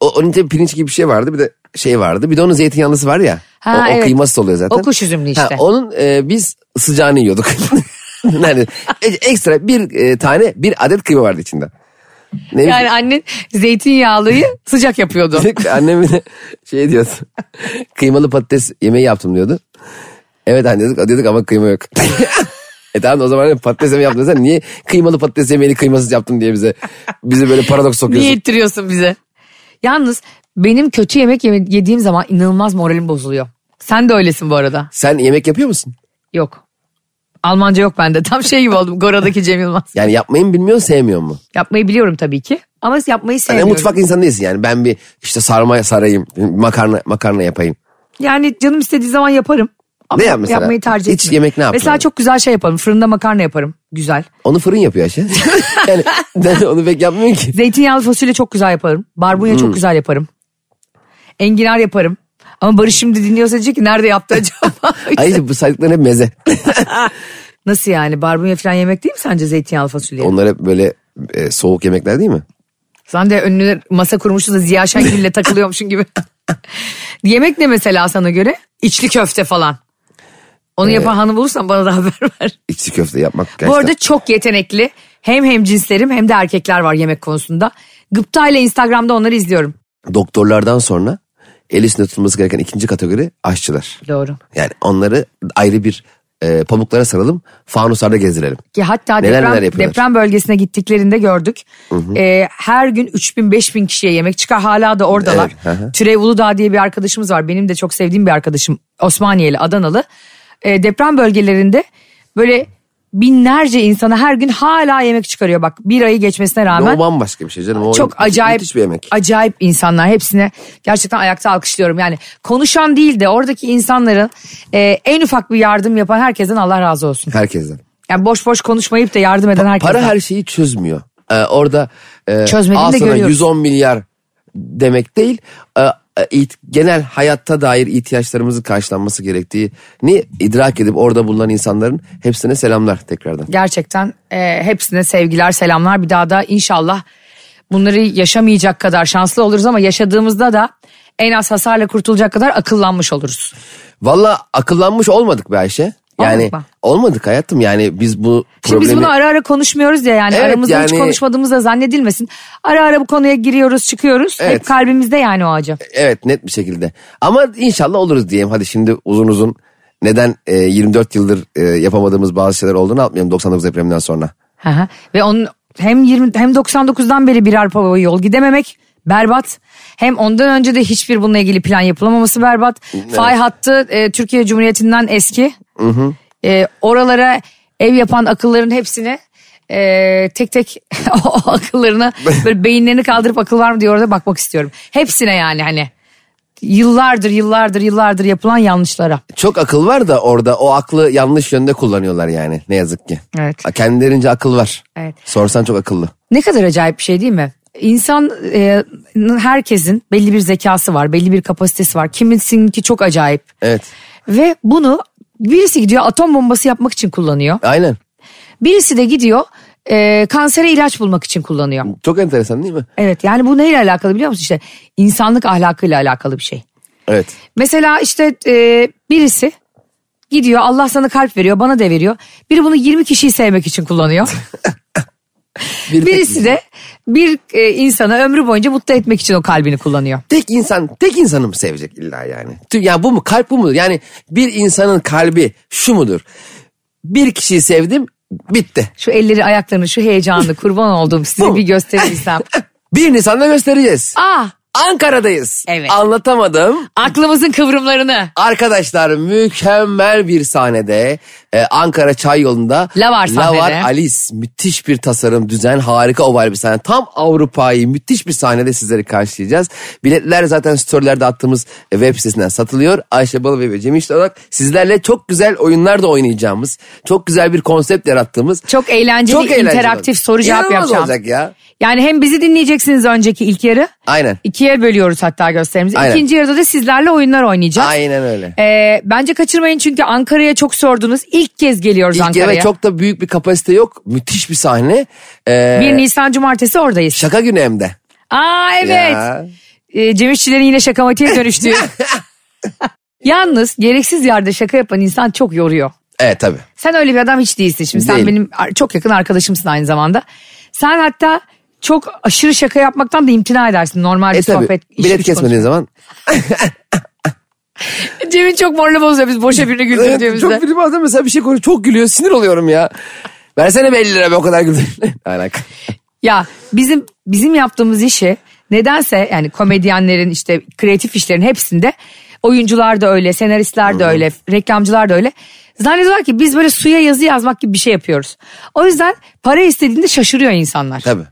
Speaker 3: o, onun tabii pirinç gibi bir şey vardı bir de şey vardı. Bir de onun zeytinyağlısı var ya.
Speaker 2: Ha,
Speaker 3: o, o
Speaker 2: evet.
Speaker 3: kıyması oluyor zaten.
Speaker 2: O kuş üzümlü işte.
Speaker 3: onun e, biz sıcağını yiyorduk. yani e- ekstra bir e, tane bir adet kıyma vardı içinde. Ne bileyim,
Speaker 2: Yani annen zeytinyağlıyı sıcak yapıyordu.
Speaker 3: Annem bir de şey diyordu. Kıymalı patates yemeği yaptım diyordu. Evet anne dedik, dedik ama kıyma yok. e tamam o zaman patates yemeği yaptın sen niye kıymalı patates yemeğini kıymasız yaptım diye bize bizi böyle paradoks sokuyorsun.
Speaker 2: Niye ettiriyorsun bize? Yalnız benim kötü yemek yeme- yediğim zaman inanılmaz moralim bozuluyor. Sen de öylesin bu arada.
Speaker 3: Sen yemek yapıyor musun?
Speaker 2: Yok. Almanca yok bende. Tam şey gibi oldum. Gora'daki Cem Yılmaz.
Speaker 3: Yani yapmayı mı bilmiyorsun sevmiyor mu?
Speaker 2: Yapmayı biliyorum tabii ki. Ama yapmayı
Speaker 3: Yani
Speaker 2: sevmiyorum.
Speaker 3: Hani mutfak insanı değilsin yani ben bir işte sarma sarayım makarna makarna yapayım.
Speaker 2: Yani canım istediği zaman yaparım. Ama
Speaker 3: Ne yap mesela?
Speaker 2: Yapmayı tercih
Speaker 3: Hiç
Speaker 2: etmiyorum.
Speaker 3: yemek ne yaptın?
Speaker 2: Mesela çok güzel şey yaparım. Fırında makarna yaparım. Güzel.
Speaker 3: Onu fırın yapıyor Ayşe. yani ben onu pek yapmıyorum ki.
Speaker 2: Zeytinyağlı fasulye çok güzel yaparım. Barbunya çok güzel yaparım. Enginar yaparım. Ama Barış şimdi dinliyorsa diyecek ki nerede yaptı acaba?
Speaker 3: Ayrıca bu saydıkların hep meze.
Speaker 2: Nasıl yani barbunya falan yemek değil mi sence zeytinyağlı fasulye?
Speaker 3: Onlar hep böyle e, soğuk yemekler değil mi?
Speaker 2: Sen de önüne masa kurmuşsun da Ziya Şengül'le takılıyormuşsun gibi. yemek ne mesela sana göre? İçli köfte falan. Onu yapan hanım bulursan bana da haber ver.
Speaker 3: İçli köfte yapmak gerçekten.
Speaker 2: Bu arada çok yetenekli hem hem cinslerim hem de erkekler var yemek konusunda. Gıpta ile Instagram'da onları izliyorum.
Speaker 3: Doktorlardan sonra el üstünde tutulması gereken ikinci kategori aşçılar.
Speaker 2: Doğru.
Speaker 3: Yani onları ayrı bir e, pamuklara saralım fanuslarda gezdirelim.
Speaker 2: Ki hatta
Speaker 3: Neler
Speaker 2: deprem,
Speaker 3: neler yapıyorlar.
Speaker 2: deprem bölgesine gittiklerinde gördük. Ee, her gün 3000-5000 kişiye yemek çıkar hala da oradalar.
Speaker 3: Evet, hı hı.
Speaker 2: Türev Uludağ diye bir arkadaşımız var. Benim de çok sevdiğim bir arkadaşım. Osmaniyeli, Adanalı. Ee, deprem bölgelerinde böyle binlerce insana her gün hala yemek çıkarıyor. Bak bir ayı geçmesine
Speaker 3: Ama
Speaker 2: rağmen
Speaker 3: o bambaşka bir şey canım. O
Speaker 2: çok
Speaker 3: müthiş-
Speaker 2: acayip
Speaker 3: Müthiş bir yemek.
Speaker 2: acayip insanlar hepsine gerçekten ayakta alkışlıyorum. Yani konuşan değil de oradaki insanların e, en ufak bir yardım yapan herkesten Allah razı olsun.
Speaker 3: Herkesten.
Speaker 2: Yani boş boş konuşmayıp da yardım eden herkesten.
Speaker 3: Para her şeyi çözmüyor. Ee, orada e,
Speaker 2: Çözmediğini
Speaker 3: al
Speaker 2: de
Speaker 3: sana
Speaker 2: görüyoruz.
Speaker 3: 110 milyar demek değil. e, e, it- genel hayatta dair ihtiyaçlarımızın karşılanması gerektiğini idrak edip orada bulunan insanların hepsine selamlar tekrardan.
Speaker 2: Gerçekten e, hepsine sevgiler selamlar bir daha da inşallah bunları yaşamayacak kadar şanslı oluruz ama yaşadığımızda da en az hasarla kurtulacak kadar akıllanmış oluruz.
Speaker 3: Valla akıllanmış olmadık be Ayşe. Yani
Speaker 2: Olmadık
Speaker 3: olmadık,
Speaker 2: mı?
Speaker 3: hayatım yani biz bu
Speaker 2: Şimdi
Speaker 3: problemi...
Speaker 2: biz bunu ara ara konuşmuyoruz ya yani
Speaker 3: Evet,
Speaker 2: aramızda hiç
Speaker 3: yani-
Speaker 2: konuşmadığımız da zannedilmesin. Ara ara bu konuya giriyoruz çıkıyoruz hep
Speaker 3: Evet.
Speaker 2: kalbimizde yani o acı.
Speaker 3: Evet net bir şekilde. Ama inşallah oluruz diyeyim. Hadi şimdi uzun uzun neden e, 24 yıldır e, yapamadığımız bazı şeyler olduğunu atmayalım 99 depreminden sonra.
Speaker 2: Hı hı. Ve onun hem 20 hem 99'dan beri birer palavayı yol gidememek berbat. Hem ondan önce de hiçbir bununla ilgili plan yapılamaması berbat. Fay hattı e, Türkiye Cumhuriyeti'nden eski. E, oralara ev yapan akılların hepsini e, tek tek o akıllarına böyle beyinlerini kaldırıp akıl var mı diye orada bakmak istiyorum. Hepsine yani hani yıllardır yıllardır yıllardır yapılan yanlışlara.
Speaker 3: Çok akıl var da orada o aklı yanlış yönde kullanıyorlar yani ne yazık ki.
Speaker 2: Evet.
Speaker 3: Ha, Kendilerince akıl var.
Speaker 2: Evet.
Speaker 3: Sorsan çok akıllı.
Speaker 2: Ne kadar acayip bir şey değil mi? İnsan e, herkesin belli bir zekası var, belli bir kapasitesi var. Kimisininki çok acayip.
Speaker 3: Evet.
Speaker 2: Ve bunu birisi gidiyor atom bombası yapmak için kullanıyor.
Speaker 3: Aynen.
Speaker 2: Birisi de gidiyor e, kansere ilaç bulmak için kullanıyor.
Speaker 3: Çok enteresan değil mi?
Speaker 2: Evet yani bu neyle alakalı biliyor musun? İşte insanlık ahlakıyla alakalı bir şey.
Speaker 3: Evet.
Speaker 2: Mesela işte e, birisi gidiyor Allah sana kalp veriyor bana da veriyor. Biri bunu 20 kişiyi sevmek için kullanıyor.
Speaker 3: Bir
Speaker 2: Birisi
Speaker 3: tek,
Speaker 2: de bir e, insana ömrü boyunca mutlu etmek için o kalbini kullanıyor.
Speaker 3: tek insan tek insanı mı sevecek illa yani? Tü- Ya bu mu kalp bu mudur? Yani bir insanın kalbi şu mudur? Bir kişiyi sevdim bitti.
Speaker 2: Şu elleri ayaklarını şu heyecanını kurban olduğum size
Speaker 3: Bu.
Speaker 2: bir gösterebilsem.
Speaker 3: Bir Nisan'da göstereceğiz.
Speaker 2: Ah
Speaker 3: Ankara'dayız.
Speaker 2: Evet.
Speaker 3: Anlatamadım.
Speaker 2: aklımızın kıvrımlarını.
Speaker 3: Arkadaşlar mükemmel bir sahnede Ee, Ankara Çay Yolu'nda
Speaker 2: Lavar sahnede.
Speaker 3: Lavar Alice müthiş bir tasarım düzen harika oval bir sahne tam Avrupa'yı müthiş bir sahnede sizleri karşılayacağız. Biletler zaten storylerde attığımız web sitesinden satılıyor. Ayşe Balıbey ve Cem İşler olarak sizlerle çok güzel oyunlar da oynayacağımız çok güzel bir konsept yarattığımız.
Speaker 2: Çok eğlenceli, interaktif
Speaker 3: olacak.
Speaker 2: soru cevap
Speaker 3: İnanılmaz
Speaker 2: yapacağım.
Speaker 3: olacak ya.
Speaker 2: Yani hem bizi dinleyeceksiniz önceki ilk yarı.
Speaker 3: Aynen.
Speaker 2: İkiye bölüyoruz hatta gösterimizi.
Speaker 3: Aynen.
Speaker 2: İkinci yarıda da sizlerle oyunlar oynayacağız.
Speaker 3: Aynen öyle.
Speaker 2: Ee, bence kaçırmayın çünkü Ankara'ya çok sordunuz. İlk kez geliyoruz
Speaker 3: İlk
Speaker 2: Ankara'ya.
Speaker 3: yere çok da büyük bir kapasite yok. Müthiş bir sahne. Ee,
Speaker 2: 1 Nisan Cumartesi oradayız.
Speaker 3: şaka günü hem de.
Speaker 2: Aa evet.
Speaker 3: Ya.
Speaker 2: Ee, Cem İşçilerin yine şaka matiğe dönüştüğü. Yalnız gereksiz yerde şaka yapan insan çok yoruyor.
Speaker 3: Evet tabii.
Speaker 2: Sen öyle bir adam hiç değilsin. Şimdi sen
Speaker 3: Değilim.
Speaker 2: benim ar- çok yakın arkadaşımsın aynı zamanda. Sen hatta çok aşırı şaka yapmaktan da imtina edersin normal bir
Speaker 3: E tabii.
Speaker 2: sohbet. iş
Speaker 3: bilet
Speaker 2: güç
Speaker 3: kesmediğin zaman.
Speaker 2: konuş- Cem'in çok morali bozuyor biz boşa birini
Speaker 3: Evet,
Speaker 2: güldürdüğümüzde.
Speaker 3: çok film bazen mesela bir şey konuş çok gülüyor sinir oluyorum ya. Versene be 50 lira be o kadar güldüm. Ne alaka?
Speaker 2: Ya bizim bizim yaptığımız işi nedense yani komedyenlerin işte kreatif işlerin hepsinde oyuncular da öyle, senaristler de öyle, reklamcılar da öyle. Zannediyorlar ki biz böyle suya yazı yazmak gibi bir şey yapıyoruz. O yüzden para istediğinde şaşırıyor insanlar.
Speaker 3: Tabii.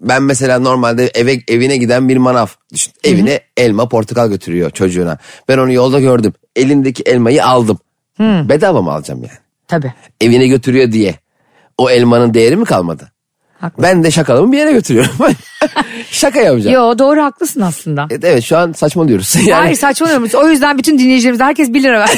Speaker 3: Ben mesela normalde eve evine giden bir manav düşün. Evine elma portakal götürüyor çocuğuna. Ben onu yolda gördüm. Elindeki elmayı aldım. Bedava mı alacağım yani?
Speaker 2: Tabii.
Speaker 3: Evine götürüyor diye. O elmanın değeri mi kalmadı?
Speaker 2: Haklı.
Speaker 3: Ben de şakalımı bir yere götürüyorum. Şaka yapacağım.
Speaker 2: Yo doğru haklısın aslında.
Speaker 3: Evet, Evet şu an saçmalıyoruz. Yani
Speaker 2: Hayır saçmalıyorum. O yüzden bütün dinleyicilerimiz herkes 1 lira ver.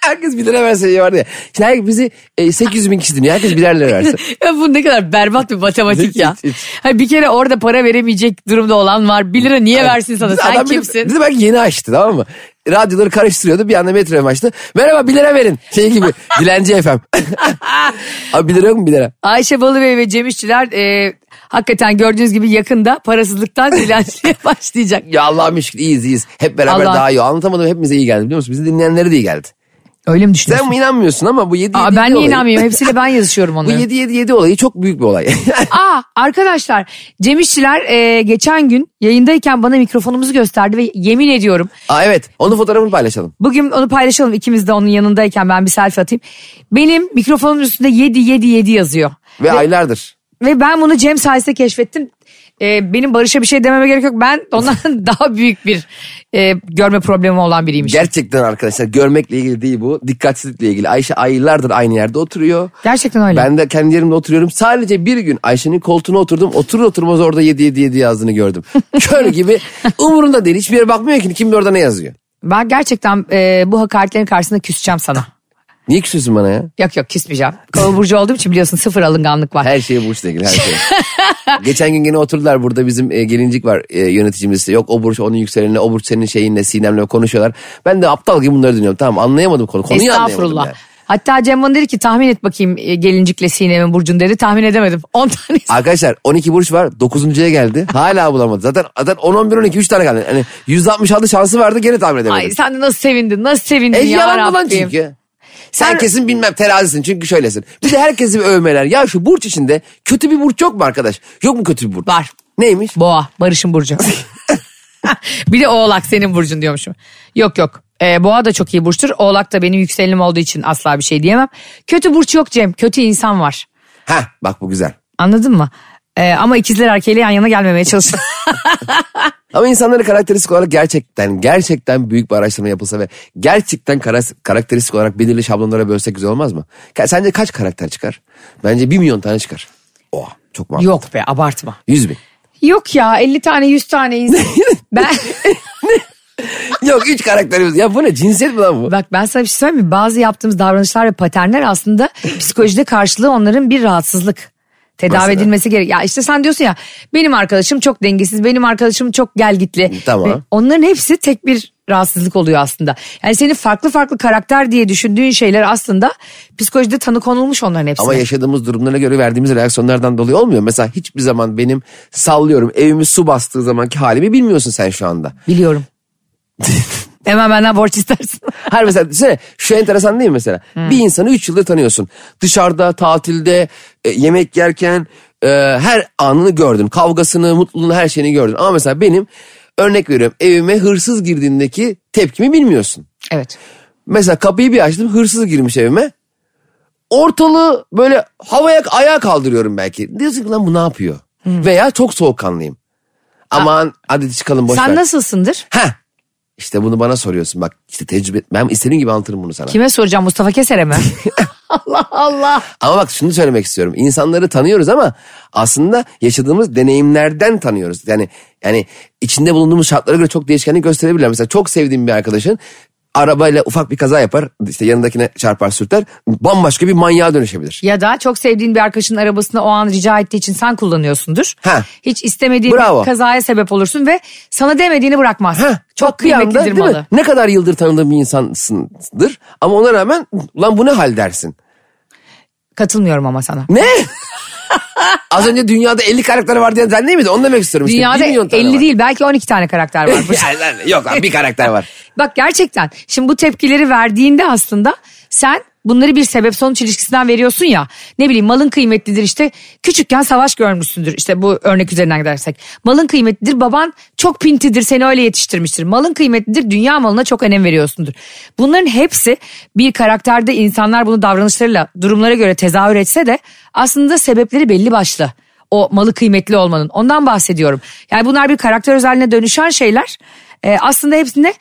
Speaker 3: herkes bir lira verse iyi vardı ya. Şimdi herkes bizi e, 800 bin kişi dinliyor. Herkes birer lira verse.
Speaker 2: ya bu ne kadar berbat bir matematik
Speaker 3: Hiç,
Speaker 2: ya.
Speaker 3: hiç, hiç.
Speaker 2: Hayır, bir kere orada para veremeyecek durumda olan var. 1 lira niye versin sana? Sen
Speaker 3: Adam bir de-
Speaker 2: kimsin?
Speaker 3: Bir de belki yeni açtı tamam mı? Radyoları karıştırıyordu. Bir anda metroya açtı. Merhaba 1 lira verin. Şey gibi. Dilenci FM. Abi 1 lira yok mu 1 lira?
Speaker 2: Ayşe Balıbey ve Cem İşçiler e, hakikaten gördüğünüz gibi yakında parasızlıktan dilenciye başlayacak.
Speaker 3: Ya Allah'ım şükür iyiyiz iyiyiz. Hep beraber
Speaker 2: Allah-
Speaker 3: daha iyi. Anlatamadım hepimize iyi geldi biliyor musun? Bizi dinleyenlere de iyi geldi.
Speaker 2: Öyle mi düşünüyorsun?
Speaker 3: Sen inanmıyorsun ama bu 7
Speaker 2: Aa,
Speaker 3: 7
Speaker 2: ben niye
Speaker 3: olayı,
Speaker 2: inanmıyorum? Hepsiyle ben yazışıyorum
Speaker 3: Bu
Speaker 2: onları.
Speaker 3: 7 7 7 olayı çok büyük bir olay.
Speaker 2: Aa arkadaşlar Cem İşçiler e, geçen gün yayındayken bana mikrofonumuzu gösterdi ve yemin ediyorum
Speaker 3: Aa, evet onun fotoğrafını paylaşalım.
Speaker 2: Bugün onu paylaşalım ikimiz de onun yanındayken ben bir selfie atayım. Benim mikrofonun üstünde 7 7 7 yazıyor.
Speaker 3: Ve aylardır.
Speaker 2: Ve ben bunu Cem sayesinde keşfettim. Ee, benim Barış'a bir şey dememe gerek yok. Ben ondan daha büyük bir e, görme problemi olan biriymiş.
Speaker 3: Gerçekten arkadaşlar görmekle ilgili değil bu. Dikkatsizlikle ilgili. Ayşe aylardır aynı yerde oturuyor.
Speaker 2: Gerçekten öyle.
Speaker 3: Ben de kendi yerimde oturuyorum. Sadece bir gün Ayşe'nin koltuğuna oturdum. Oturur oturmaz orada 7 7 7 yazdığını gördüm. Kör gibi umurunda değil. Hiçbir yere bakmıyor ki kim bilir orada ne yazıyor.
Speaker 2: Ben gerçekten e, bu hakaretlerin karşısında küseceğim sana.
Speaker 3: Niye küsüyorsun bana ya?
Speaker 2: Yok yok küsmeyeceğim. Kova burcu olduğum için biliyorsun sıfır alınganlık var.
Speaker 3: Her şeye burçla ilgili her şey. Geçen gün gene oturdular burada bizim e, gelincik var e, yöneticimiz. Yok o burç onun yükselenine o burç senin şeyinle Sinem'le konuşuyorlar. Ben de aptal gibi bunları dinliyorum. Tamam anlayamadım konu. Konuyu anlayamadım
Speaker 2: Estağfurullah.
Speaker 3: yani.
Speaker 2: Hatta Cem bana dedi ki tahmin et bakayım e, gelincikle Sinem'in burcunu dedi. Tahmin edemedim. 10 tane
Speaker 3: Arkadaşlar 12 burç var 9.ya geldi. Hala bulamadı. Zaten zaten 10 11 12 3 tane geldi. Hani 166 şansı vardı gene tahmin
Speaker 2: Ay
Speaker 3: edemedim.
Speaker 2: sen de nasıl sevindin nasıl sevindin
Speaker 3: E
Speaker 2: ya
Speaker 3: yalan
Speaker 2: Rabbim.
Speaker 3: falan çünkü. Sen
Speaker 2: Sen-
Speaker 3: kesin bilmem terazisin çünkü şöylesin. Bir de herkesi bir övmeler. Ya şu burç içinde kötü bir burç yok mu arkadaş? Yok mu kötü bir burç?
Speaker 2: Var.
Speaker 3: Neymiş?
Speaker 2: Boğa Barış'ın burcu. bir de oğlak senin burcun diyormuşum. Yok yok Ee, boğa da çok iyi burçtur. Oğlak da benim yükselenim olduğu için asla bir şey diyemem. Kötü burç yok Cem kötü insan var.
Speaker 3: Ha bak bu güzel.
Speaker 2: Anladın mı? Ee, ama ikizler erkeğiyle yan yana gelmemeye çalışın.
Speaker 3: Ama insanların karakteristik olarak gerçekten gerçekten büyük bir araştırma yapılsa ve gerçekten kara- karakteristik olarak belirli şablonlara bölsek güzel olmaz mı? Ka- Sence kaç karakter çıkar? Bence 1 milyon tane çıkar. Oh çok mantıklı.
Speaker 2: yok be abartma.
Speaker 3: 100 bin.
Speaker 2: Yok ya 50 tane 100 tane insan. ben,
Speaker 3: Yok üç karakterimiz. Ya bu ne cinsiyet mi lan bu?
Speaker 2: bak ben sana bir şey söyleyeyim mi? Bazı yaptığımız davranışlar ve paternler aslında psikolojide karşılığı onların bir rahatsızlık. Tedavi
Speaker 3: Mesela?
Speaker 2: edilmesi gerek. Ya işte sen diyorsun ya benim arkadaşım çok dengesiz, benim arkadaşım çok gelgitli.
Speaker 3: Tamam.
Speaker 2: Ve onların hepsi tek bir rahatsızlık oluyor aslında. Yani senin farklı farklı karakter diye düşündüğün şeyler aslında psikolojide tanı konulmuş onların hepsine.
Speaker 3: Ama yaşadığımız durumlara göre verdiğimiz reaksiyonlardan dolayı olmuyor. Mesela hiçbir zaman benim sallıyorum evimi su bastığı zamanki halimi bilmiyorsun sen şu anda.
Speaker 2: Biliyorum. Hemen benden borç istersin.
Speaker 3: Her mesela düşünsene şu enteresan değil mi mesela? Bir insanı 3 yıldır tanıyorsun. Dışarıda, tatilde, e, yemek yerken e, her anını gördün. Kavgasını, mutluluğunu, her şeyini gördün. Ama mesela benim örnek veriyorum evime hırsız girdiğindeki tepkimi bilmiyorsun.
Speaker 2: evet.
Speaker 3: Mesela kapıyı bir açtım hırsız girmiş evime. ortalığı böyle havaya ayağa kaldırıyorum belki. Diyorsun ki lan bu ne yapıyor? Veya çok soğukkanlıyım. Aman hadi çıkalım boş
Speaker 2: Sen
Speaker 3: ver.
Speaker 2: nasılsındır?
Speaker 3: Heh. İşte bunu bana soruyorsun bak işte tecrübe ben istediğin gibi anlatırım bunu sana.
Speaker 2: Kime soracağım Mustafa Keser'e mi? Allah Allah.
Speaker 3: Ama bak şunu söylemek istiyorum. İnsanları tanıyoruz ama aslında yaşadığımız deneyimlerden tanıyoruz. Yani yani içinde bulunduğumuz şartlara göre çok değişkenlik gösterebilirler. Mesela çok sevdiğim bir arkadaşın arabayla ufak bir kaza yapar. işte yanındakine çarpar sürter. Bambaşka bir manyağa dönüşebilir.
Speaker 2: Ya da çok sevdiğin bir arkadaşın arabasını o an rica ettiği için sen kullanıyorsundur.
Speaker 3: Ha.
Speaker 2: Hiç istemediğin
Speaker 3: Bravo.
Speaker 2: bir kazaya sebep olursun ve sana demediğini bırakmaz.
Speaker 3: Heh,
Speaker 2: çok
Speaker 3: bak bir anda,
Speaker 2: kıymetlidir
Speaker 3: değil mi?
Speaker 2: malı.
Speaker 3: Ne kadar yıldır tanıdığın bir insansındır ama ona rağmen lan bu ne hal dersin.
Speaker 2: Katılmıyorum ama sana.
Speaker 3: Ne? Az önce dünyada 50 karakter var diyen sen değil miydin? Onu demek istiyorum işte.
Speaker 2: Dünyada
Speaker 3: Bir milyon
Speaker 2: 50
Speaker 3: tane var.
Speaker 2: değil belki 12 tane karakter var.
Speaker 3: Yani lan Yok lan bir karakter var.
Speaker 2: Bak gerçekten şimdi bu tepkileri verdiğinde aslında sen bunları bir sebep sonuç ilişkisinden veriyorsun ya. Ne bileyim malın kıymetlidir işte küçükken savaş görmüşsündür işte bu örnek üzerinden gidersek. Malın kıymetlidir baban çok pintidir seni öyle yetiştirmiştir. Malın kıymetlidir dünya malına çok önem veriyorsundur. Bunların hepsi bir karakterde insanlar bunu davranışlarıyla durumlara göre tezahür etse de aslında sebepleri belli başlı. O malı kıymetli olmanın ondan bahsediyorum. Yani bunlar bir karakter özelliğine dönüşen şeyler. Ee, aslında hepsinde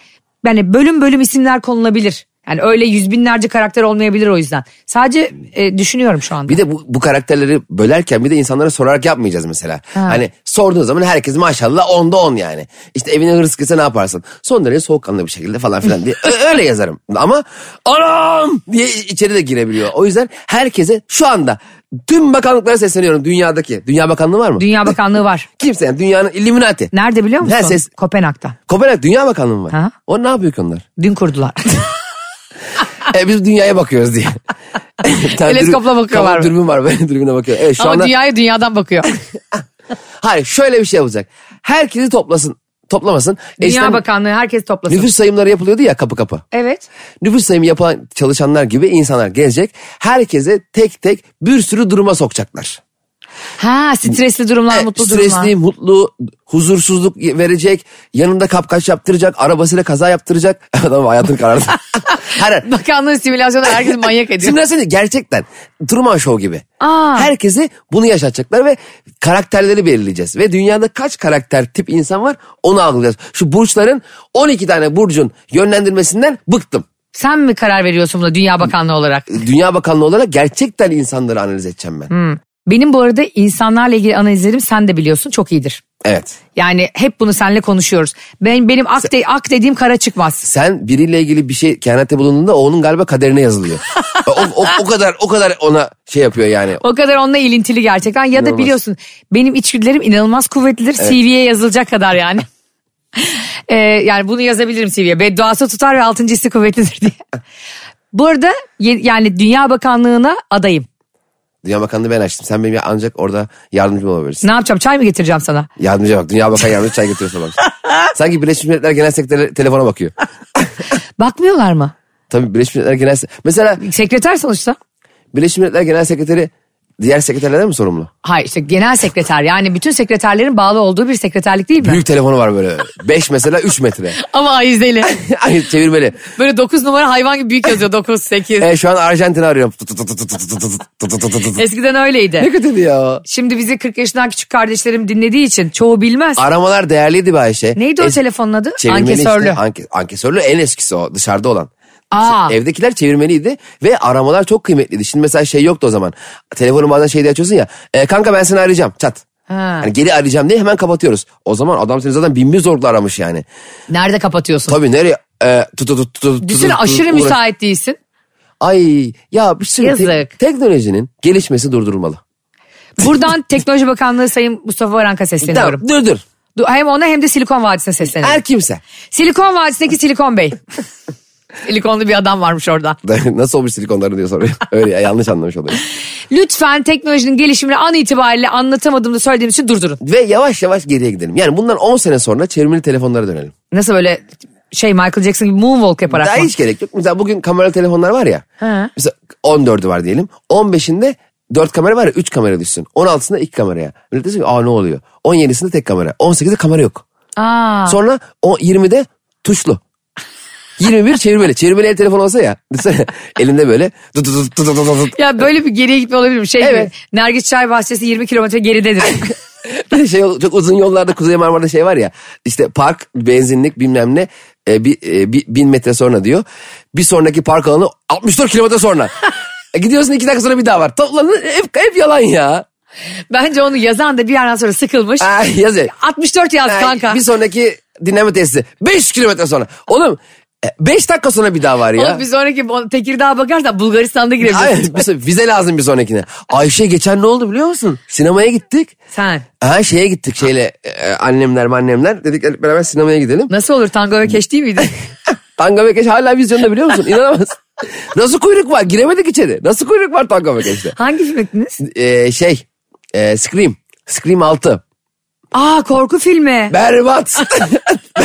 Speaker 2: yani bölüm bölüm isimler konulabilir. Yani öyle yüz binlerce karakter olmayabilir o yüzden. Sadece e, düşünüyorum şu anda.
Speaker 3: Bir de bu, bu karakterleri bölerken bir de insanlara sorarak yapmayacağız mesela. Hani sorduğun zaman herkes maşallah onda on yani. İşte evine hırsız gelse ne yaparsın? Son derece soğukkanlı bir şekilde falan filan diye Ö- öyle yazarım. Ama anam diye içeri de girebiliyor. O yüzden herkese şu anda tüm bakanlıklara sesleniyorum dünyadaki. Dünya bakanlığı var mı?
Speaker 2: Dünya Bakanlığı var.
Speaker 3: Kimse yani dünyanın Illuminati.
Speaker 2: Nerede biliyor musun?
Speaker 3: Her ses-
Speaker 2: Kopenhag'da.
Speaker 3: Kopenhag Dünya Bakanlığı mı var?
Speaker 2: Ha.
Speaker 3: O ne yapıyor ki onlar?
Speaker 2: Dün kurdular.
Speaker 3: E, biz dünyaya bakıyoruz diye. Bir tane
Speaker 2: Teleskopla
Speaker 3: dürbün-
Speaker 2: bakıyorlar mı?
Speaker 3: Dürbün var böyle dürbüne bakıyor. Evet, şu anda...
Speaker 2: dünyayı dünyadan bakıyor.
Speaker 3: Hayır şöyle bir şey yapılacak. Herkesi toplasın. Toplamasın.
Speaker 2: Dünya
Speaker 3: Eskiden
Speaker 2: Bakanlığı herkes toplasın.
Speaker 3: Nüfus sayımları yapılıyordu ya kapı kapı.
Speaker 2: Evet.
Speaker 3: Nüfus sayımı yapan çalışanlar gibi insanlar gezecek. Herkese tek tek bir sürü duruma sokacaklar.
Speaker 2: Ha stresli durumlar, mutlu durumlar.
Speaker 3: Stresli, mutlu, huzursuzluk verecek. Yanında kapkaç yaptıracak. Arabasıyla kaza yaptıracak. Adam hayatını karardı. Her her.
Speaker 2: Bakanlığın simülasyonu herkes manyak ediyor.
Speaker 3: Simülasyon gerçekten Truman Show gibi.
Speaker 2: Aa.
Speaker 3: Herkese bunu yaşatacaklar ve karakterleri belirleyeceğiz. Ve dünyada kaç karakter tip insan var onu algılayacağız. Şu burçların 12 tane burcun yönlendirmesinden bıktım.
Speaker 2: Sen mi karar veriyorsun buna Dünya Bakanlığı olarak?
Speaker 3: Dünya Bakanlığı olarak gerçekten insanları analiz edeceğim ben.
Speaker 2: Benim bu arada insanlarla ilgili analizlerim sen de biliyorsun çok iyidir.
Speaker 3: Evet.
Speaker 2: Yani hep bunu seninle konuşuyoruz. Ben benim ak, de- ak dediğim kara çıkmaz.
Speaker 3: Sen biriyle ilgili bir şey kehanette bulunduğunda o onun galiba kaderine yazılıyor. o, o, o kadar o kadar ona şey yapıyor yani.
Speaker 2: O kadar onunla ilintili gerçekten. Ya da
Speaker 3: İnanılmaz.
Speaker 2: biliyorsun benim içgüdülerim inanılmaz kuvvetlidir. CV'ye yazılacak kadar yani. Ee, yani bunu yazabilirim CV'ye. Bedduası tutar ve altıncı hissi kuvvetlidir diye. Bu arada ye- yani Dünya Bakanlığı'na adayım.
Speaker 3: Dünya Bakanlığı ben açtım. Sen benim ya- ancak orada yardımcı olabilirsin.
Speaker 2: Ne yapacağım çay mı getireceğim sana?
Speaker 3: Yardımcıya bak. Dünya Bakan yardımcı çay getiriyorsa bak. Sanki Birleşmiş Milletler Genel Sekreteri telefona bakıyor.
Speaker 2: Bakmıyorlar mı?
Speaker 3: Tabii Birleşmiş Milletler Genel Se- Mesela
Speaker 2: Sekreter sonuçta.
Speaker 3: Birleşmiş Milletler Genel Sekreteri diğer sekreterlerden mi sorumlu?
Speaker 2: Hayır işte genel sekreter yani bütün sekreterlerin bağlı olduğu bir sekreterlik değil mi?
Speaker 3: Büyük telefonu var böyle. 5 mesela 3 metre.
Speaker 2: Ama ayizeli.
Speaker 3: Ay çevirmeli.
Speaker 2: Böyle 9 numara hayvan gibi büyük yazıyor 9, 8.
Speaker 3: E, şu an Arjantin'i arıyorum. Tut, tut, tut, tut, tut, tut, tut, tut, tut, tut.
Speaker 2: Eskiden öyleydi.
Speaker 3: ne kötüydü ya.
Speaker 2: Şimdi bizi 40 yaşından küçük kardeşlerim dinlediği için çoğu bilmez.
Speaker 3: Aramalar değerliydi be Ayşe.
Speaker 2: Neydi o
Speaker 3: Es-
Speaker 2: telefonun adı?
Speaker 3: Çevirmeli
Speaker 2: Ankesörlü.
Speaker 3: Işte. Anke- ankesörlü en eskisi o dışarıda olan.
Speaker 2: Aa.
Speaker 3: Evdekiler çevirmeliydi ve aramalar çok kıymetliydi. Şimdi mesela şey yoktu o zaman. Telefonu bazen şeyde açıyorsun ya. "E, kanka ben seni arayacağım çat.
Speaker 2: Ha.
Speaker 3: Hani geri arayacağım diye hemen kapatıyoruz. O zaman adam seni zaten bin bir zorla aramış yani.
Speaker 2: Nerede kapatıyorsun?
Speaker 3: Tabii nereye? E, tut tut tut tut.
Speaker 2: Düşünsene aşırı müsait değilsin.
Speaker 3: Ay ya bir sürü te-
Speaker 2: Yazık.
Speaker 3: teknolojinin gelişmesi durdurulmalı.
Speaker 2: Buradan Teknoloji Bakanlığı Sayın Mustafa Varank'a sesleniyorum.
Speaker 3: Tamam dur dur.
Speaker 2: Du- Hem ona hem de Silikon Vadisi'ne sesleniyorum.
Speaker 3: Her kimse.
Speaker 2: Silikon Vadisi'ndeki Silikon Bey. Silikonlu bir adam varmış orada.
Speaker 3: Nasıl olmuş silikonların diyor soruyor. Öyle ya, yanlış anlamış oluyor.
Speaker 2: Lütfen teknolojinin gelişimini an itibariyle anlatamadığımda söylediğim için durdurun.
Speaker 3: Ve yavaş yavaş geriye gidelim. Yani bundan 10 sene sonra çevirmeli telefonlara dönelim.
Speaker 2: Nasıl böyle şey Michael Jackson gibi moonwalk yaparak
Speaker 3: Daha
Speaker 2: mı?
Speaker 3: hiç gerek yok. Mesela bugün kameralı telefonlar var ya.
Speaker 2: He.
Speaker 3: Mesela 14'ü var diyelim. 15'inde 4 kamera var ya 3 kamera düşsün. 16'sında 2 kameraya. Millet diyor ki aa ne oluyor? 17'sinde tek kamera. 18'de kamera yok.
Speaker 2: Aa,
Speaker 3: Sonra o 20'de tuşlu. 21 çevirmeli. Çevirmeli el telefonu olsa ya. Düşünsene elinde böyle. Tut tut tut tut tut tut tut.
Speaker 2: Ya böyle bir geriye gitme olabilir mi? Şey
Speaker 3: Evet.
Speaker 2: gibi, Nergis Çay Bahçesi 20 kilometre geridedir.
Speaker 3: Bir de şey çok uzun yollarda Kuzey Marmara'da şey var ya işte park benzinlik bilmem ne e, bir, e, bir- bin metre sonra diyor. Bir sonraki park alanı 64 kilometre sonra. E, Gidiyorsun iki dakika sonra bir daha var. Toplanın hep, hep yalan ya.
Speaker 2: Bence onu yazan da bir yerden sonra sıkılmış.
Speaker 3: Ay, yazıyor.
Speaker 2: 64 yaz
Speaker 3: Ay,
Speaker 2: kanka.
Speaker 3: Bir sonraki dinleme tesisi 5 kilometre sonra. Oğlum 5 dakika sonra bir daha var ya.
Speaker 2: Oğlum bir sonraki bu- Tekirdağ'a bakarsan Bulgaristan'da
Speaker 3: Ay,
Speaker 2: girebilirsin.
Speaker 3: bir son- vize lazım bir sonrakine. Ayşe geçen ne oldu biliyor musun? Sinemaya gittik.
Speaker 2: Sen.
Speaker 3: Ha şeye gittik şeyle e, annemler annemler dedik "Hadi beraber sinemaya gidelim.
Speaker 2: Nasıl olur tango ve keş değil miydi?
Speaker 3: Tango Bekeş hala vizyonda biliyor musun? İnanamazsın. Nasıl kuyruk var? Giremedik içeri. Nasıl kuyruk var Tango Bekeş'te?
Speaker 2: Hangi film ettiniz?
Speaker 3: Ee, şey, e, Scream. Scream 6.
Speaker 2: Aa korku filmi.
Speaker 3: Berbat.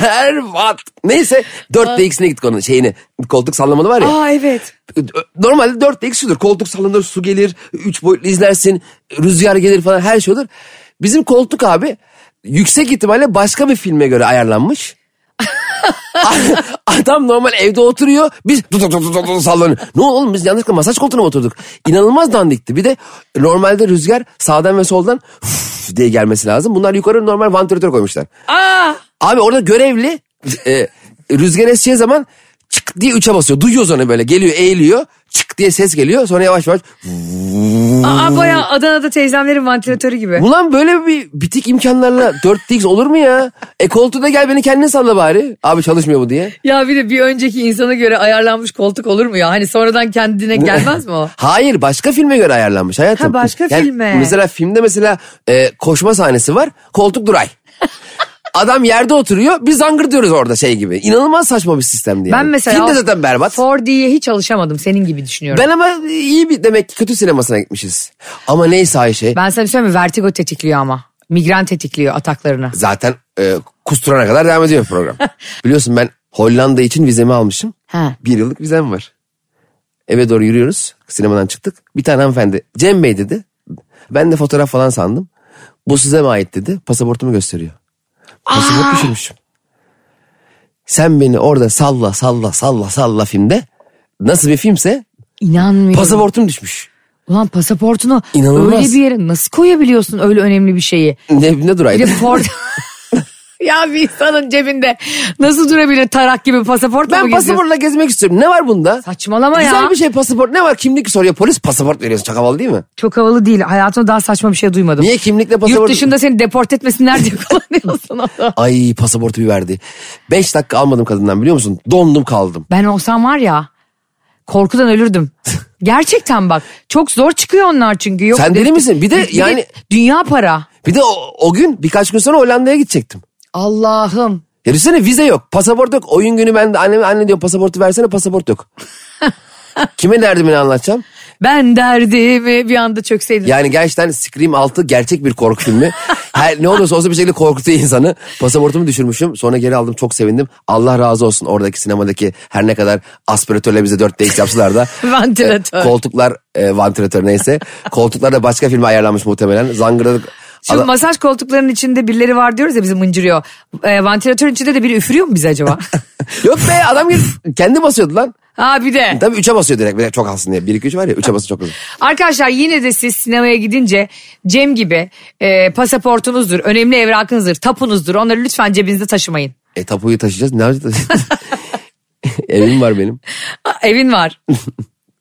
Speaker 3: Berbat. Neyse 4DX'ine gittik onun şeyini. Koltuk sallamalı var ya.
Speaker 2: Aa evet.
Speaker 3: Normalde 4DX şudur. Koltuk sallanır, su gelir, 3 boyutlu izlersin, rüzgar gelir falan her şey olur. Bizim koltuk abi yüksek ihtimalle başka bir filme göre ayarlanmış. Adam normal evde oturuyor. Biz tut tut tut tut tut sallanıyor. Ne oldu oğlum biz yanlışlıkla masaj koltuğuna mı oturduk? İnanılmaz dandikti. Bir de normalde rüzgar sağdan ve soldan "Üf" diye gelmesi lazım. Bunlar yukarı normal vantilatör koymuşlar.
Speaker 2: Aa
Speaker 3: Abi orada görevli e, rüzgar eseceği zaman çık diye üçe basıyor. Duyuyoruz onu böyle geliyor eğiliyor çık diye ses geliyor sonra yavaş yavaş.
Speaker 2: Aa bayağı Adana'da teyzemlerin vantilatörü gibi.
Speaker 3: Ulan böyle bir bitik imkanlarla 4DX olur mu ya? E koltuğu da gel beni kendin salla bari. Abi çalışmıyor bu diye.
Speaker 2: Ya bir de bir önceki insana göre ayarlanmış koltuk olur mu ya? Hani sonradan kendine gelmez mi o?
Speaker 3: Hayır başka filme göre ayarlanmış hayatım.
Speaker 2: Ha, başka filme.
Speaker 3: Mesela filmde mesela e, koşma sahnesi var koltuk duray. Adam yerde oturuyor biz zangır diyoruz orada şey gibi. İnanılmaz saçma bir sistemdi yani.
Speaker 2: Ben mesela
Speaker 3: Film de zaten berbat.
Speaker 2: 4D'ye hiç alışamadım senin gibi düşünüyorum.
Speaker 3: Ben ama iyi bir demek ki kötü sinemasına gitmişiz. Ama neyse Ayşe.
Speaker 2: Ben, sana bir şey söyleyeyim mi? Vertigo tetikliyor ama. Migren tetikliyor ataklarını.
Speaker 3: Zaten e, kusturana kadar devam ediyor program. Biliyorsun ben Hollanda için vizemi almışım.
Speaker 2: Ha.
Speaker 3: Bir yıllık vizem var. Eve doğru yürüyoruz. Sinemadan çıktık. Bir tane hanımefendi Cem Bey dedi. Ben de fotoğraf falan sandım. Bu size mi ait dedi. Pasaportumu gösteriyor. Pasaport düşürmüşüm. Sen beni orada salla salla salla salla filmde. Nasıl bir filmse
Speaker 2: İnanmıyorum.
Speaker 3: pasaportum düşmüş.
Speaker 2: Ulan pasaportunu
Speaker 3: İnanılmaz.
Speaker 2: öyle bir yere nasıl koyabiliyorsun öyle önemli bir şeyi?
Speaker 3: Ne, ne duraydı?
Speaker 2: Bir de Ford... ya bir insanın cebinde nasıl durabilir tarak gibi pasaport
Speaker 3: Ben
Speaker 2: mu geziyorsun?
Speaker 3: pasaportla gezmek istiyorum. Ne var bunda?
Speaker 2: Saçmalama ya.
Speaker 3: Güzel bir şey pasaport. Ne var? Kimlik soruyor. Polis pasaport veriyorsun. Çok havalı değil mi?
Speaker 2: Çok havalı değil. Hayatımda daha saçma bir şey duymadım.
Speaker 3: Niye kimlikle pasaport?
Speaker 2: Yurt dışında seni deport etmesinler diye kullanıyorsun onu.
Speaker 3: Ay pasaportu bir verdi. Beş dakika almadım kadından biliyor musun? Dondum kaldım.
Speaker 2: Ben olsam var ya korkudan ölürdüm. Gerçekten bak çok zor çıkıyor onlar çünkü. Yok,
Speaker 3: Sen deli misin? Bir de yani-
Speaker 2: dünya para.
Speaker 3: Bir de o, o gün birkaç gün sonra Hollanda'ya gidecektim.
Speaker 2: Allah'ım.
Speaker 3: Ya düşünsene vize yok. Pasaport yok. Oyun günü ben de anneme anne diyorum pasaportu versene pasaport yok. Kime derdimi anlatacağım?
Speaker 2: Ben derdimi bir anda çökseydim.
Speaker 3: Yani gerçekten Scream 6 gerçek bir korku filmi. Her, ne olursa olsun bir şekilde korkutuyor insanı. Pasaportumu düşürmüşüm. Sonra geri aldım. Çok sevindim. Allah razı olsun oradaki sinemadaki her ne kadar aspiratörle bize 4DX yapsalar da.
Speaker 2: Vantilatör.
Speaker 3: e, koltuklar e, vantilatör neyse. Koltuklar da başka filme ayarlanmış muhtemelen. Zangırdadık.
Speaker 2: Şu
Speaker 3: Adam-
Speaker 2: masaj koltuklarının içinde birileri var diyoruz ya bizi mıncırıyor. E, vantilatörün içinde de biri üfürüyor mu bize acaba?
Speaker 3: Yok be adam gel- kendi basıyordu lan.
Speaker 2: ha bir de.
Speaker 3: Tabii 3'e basıyor direkt. Bir de çok alsın diye. 1-2-3 var ya 3'e basıyor çok hızlı.
Speaker 2: Arkadaşlar yine de siz sinemaya gidince Cem gibi e, pasaportunuzdur, önemli evrakınızdır, tapunuzdur. Onları lütfen cebinizde taşımayın.
Speaker 3: E tapuyu taşıyacağız. Ne yapacağız? Evim var benim.
Speaker 2: Aa, evin var.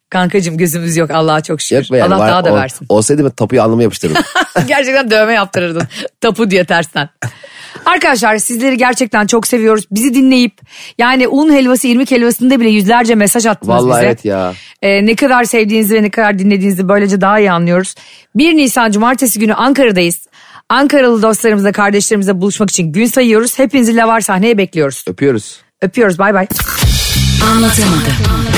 Speaker 2: Kankacığım gözümüz yok Allah'a çok şükür.
Speaker 3: Yok be yani.
Speaker 2: Allah
Speaker 3: var-
Speaker 2: daha da
Speaker 3: ol-
Speaker 2: versin.
Speaker 3: Olsaydı ben tapuyu alnıma yapıştırırdım.
Speaker 2: gerçekten dövme yaptırırdın. Tapu diye tersten. Arkadaşlar sizleri gerçekten çok seviyoruz. Bizi dinleyip yani un helvası irmik helvasında bile yüzlerce mesaj attınız
Speaker 3: Vallahi
Speaker 2: bize.
Speaker 3: evet ya.
Speaker 2: Ee, ne kadar sevdiğinizi ve ne kadar dinlediğinizi böylece daha iyi anlıyoruz. 1 Nisan Cumartesi günü Ankara'dayız. Ankaralı dostlarımızla kardeşlerimizle buluşmak için gün sayıyoruz. Hepinizi lavar sahneye bekliyoruz.
Speaker 3: Öpüyoruz.
Speaker 2: Öpüyoruz bay bay.
Speaker 4: Anlatamadım.